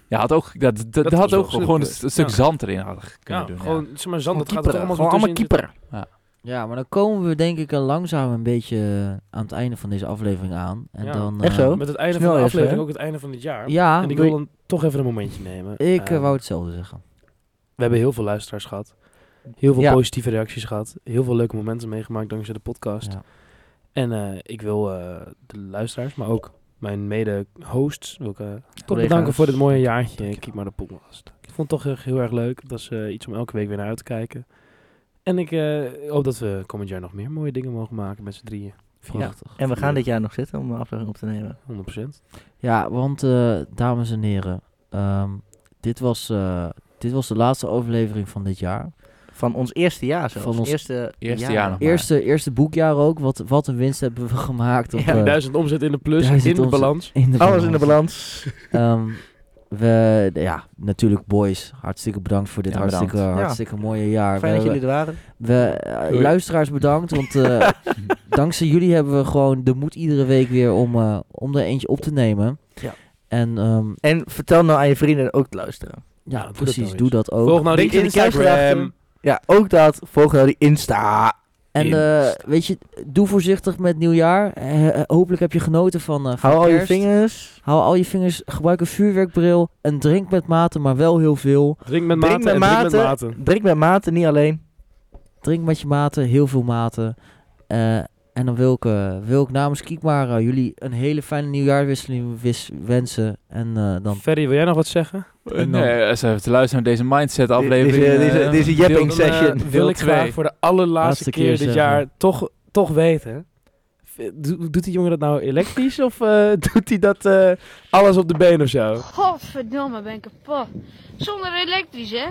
Speaker 3: Ja, had ook, dat, dat, dat
Speaker 4: was
Speaker 3: had
Speaker 4: wel
Speaker 3: ook
Speaker 4: slim
Speaker 3: gewoon een
Speaker 4: geweest.
Speaker 3: st- een stuk
Speaker 4: Ja.
Speaker 3: zand erin hadden ge- kunnen
Speaker 4: Ja,
Speaker 3: doen.
Speaker 4: gewoon, zeg maar, zand, dat gaat er toch
Speaker 5: Kieperen.
Speaker 4: allemaal
Speaker 5: Gewoon
Speaker 4: zo
Speaker 5: allemaal
Speaker 4: tussenin zitten.
Speaker 5: keeper.
Speaker 1: Ja, maar dan komen we denk ik eh, langzaam een beetje eh, aan het einde van deze aflevering aan. En
Speaker 4: Ja.
Speaker 1: dan,
Speaker 5: Echt
Speaker 1: eh,
Speaker 5: zo?
Speaker 4: Met het einde
Speaker 5: Snel
Speaker 4: van de
Speaker 5: even,
Speaker 4: aflevering,
Speaker 5: hè?
Speaker 4: ook het einde van het jaar.
Speaker 1: Ja,
Speaker 4: en ik
Speaker 1: doe-
Speaker 4: wil dan toch even een momentje nemen.
Speaker 1: ik eh,
Speaker 4: Ehm,
Speaker 1: wou hetzelfde zeggen.
Speaker 4: We hebben heel veel luisteraars gehad. Heel veel
Speaker 5: Ja.
Speaker 4: positieve reacties gehad. Heel veel leuke momenten meegemaakt dankzij de podcast.
Speaker 1: Ja.
Speaker 4: En eh, ik wil eh, de luisteraars, maar ook mijn mede-hosts, wil ik eh, toch
Speaker 5: Collega's.
Speaker 4: bedanken voor dit mooie jaartje.
Speaker 5: Dankjewel.
Speaker 4: Kijk maar de podcast. Ik vond het toch echt heel erg leuk. Dat is eh, iets om elke week weer naar uit te kijken. En ik eh, hoop dat we komend jaar nog meer mooie dingen mogen maken met z'n drieën.
Speaker 1: Prachtig.
Speaker 5: En we gaan dit jaar nog zitten om een aflevering op te nemen.
Speaker 4: 100%.
Speaker 1: Ja, want eh, dames en heren, ehm, dit, was, eh, dit was de laatste overlevering van dit jaar.
Speaker 5: Van ons eerste jaar zelfs.
Speaker 1: Van ons
Speaker 5: eerste,
Speaker 3: Eerste jaar nog. Maar-
Speaker 1: Eerste, eerste boekjaar ook. Wat, wat een winst hebben we gemaakt. Op,
Speaker 5: Ja,
Speaker 1: eh,
Speaker 4: Duizend omzet in de plus,
Speaker 1: duizend
Speaker 4: in de
Speaker 1: omzet.
Speaker 4: balans.
Speaker 1: in de
Speaker 5: Alles in de balans.
Speaker 1: Ehm, we, ja, natuurlijk boys, hartstikke bedankt voor dit
Speaker 3: Ja,
Speaker 1: hartstikke,
Speaker 3: bedankt.
Speaker 5: Ja.
Speaker 1: hartstikke mooie jaar.
Speaker 5: Fijn dat
Speaker 1: we,
Speaker 5: jullie er waren.
Speaker 1: we, eh, luisteraars bedankt, want eh, dankzij jullie hebben we gewoon de moed iedere week weer om, eh, om er eentje op te nemen.
Speaker 5: Ja.
Speaker 1: En ehm,
Speaker 5: En vertel nou aan je vrienden ook te luisteren.
Speaker 1: ja,
Speaker 4: Ja, doe dat nou
Speaker 1: precies,
Speaker 4: eens.
Speaker 1: doe dat ook.
Speaker 4: Volg nou die
Speaker 5: Die in de
Speaker 4: Instagram.
Speaker 5: kerstgedachten. Ja, ook dat. Volg nou die Insta.
Speaker 1: En eh, weet je, doe voorzichtig met nieuwjaar. Eh, eh, hopelijk heb je genoten van, eh, van
Speaker 5: Hou al je
Speaker 1: kerst.
Speaker 5: vingers.
Speaker 1: Hou al je vingers, gebruik een vuurwerkbril en drink met mate, maar wel heel veel.
Speaker 4: Drink met
Speaker 5: Drink
Speaker 4: maten en
Speaker 5: met
Speaker 4: drink met
Speaker 5: mate.
Speaker 4: maten.
Speaker 5: Drink met mate, niet alleen.
Speaker 1: Drink met je maten, heel veel maten. Eh, en dan wil ik, eh, wil ik namens Kiekmara jullie een hele fijne nieuwjaarwisseling wis- wensen. En eh, dan
Speaker 4: Ferry, wil jij nog wat zeggen?
Speaker 3: Eh, nee, als even te luisteren naar deze mindset aflevering.
Speaker 5: Deze-
Speaker 3: eh,
Speaker 5: deze- Deze
Speaker 4: Dan,
Speaker 5: jepping
Speaker 4: eh,
Speaker 5: session.
Speaker 4: wil ik
Speaker 3: twee.
Speaker 4: graag voor de allerlaatste
Speaker 1: Laatste
Speaker 4: keer
Speaker 1: keer
Speaker 4: dit
Speaker 1: zeggen.
Speaker 4: jaar toch, toch weten. V- do- doet die jongen dat nou elektrisch of eh, doet hij dat eh, alles op de been of zo?
Speaker 6: Godverdomme, ben ik kapot. Zonder elektrisch, hè?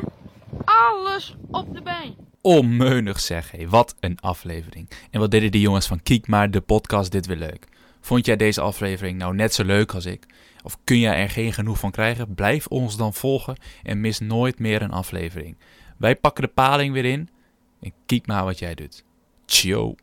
Speaker 6: Alles op de been.
Speaker 3: Onmeunig zeg, hé. Wat een aflevering. En wat deden die jongens van Kiek maar de podcast dit weer leuk. Vond jij deze aflevering nou net zo leuk als ik? Of kun jij er geen genoeg van krijgen? Blijf ons dan volgen en mis nooit meer een aflevering. Wij pakken de paling weer in en kiek maar wat jij doet. Ciao.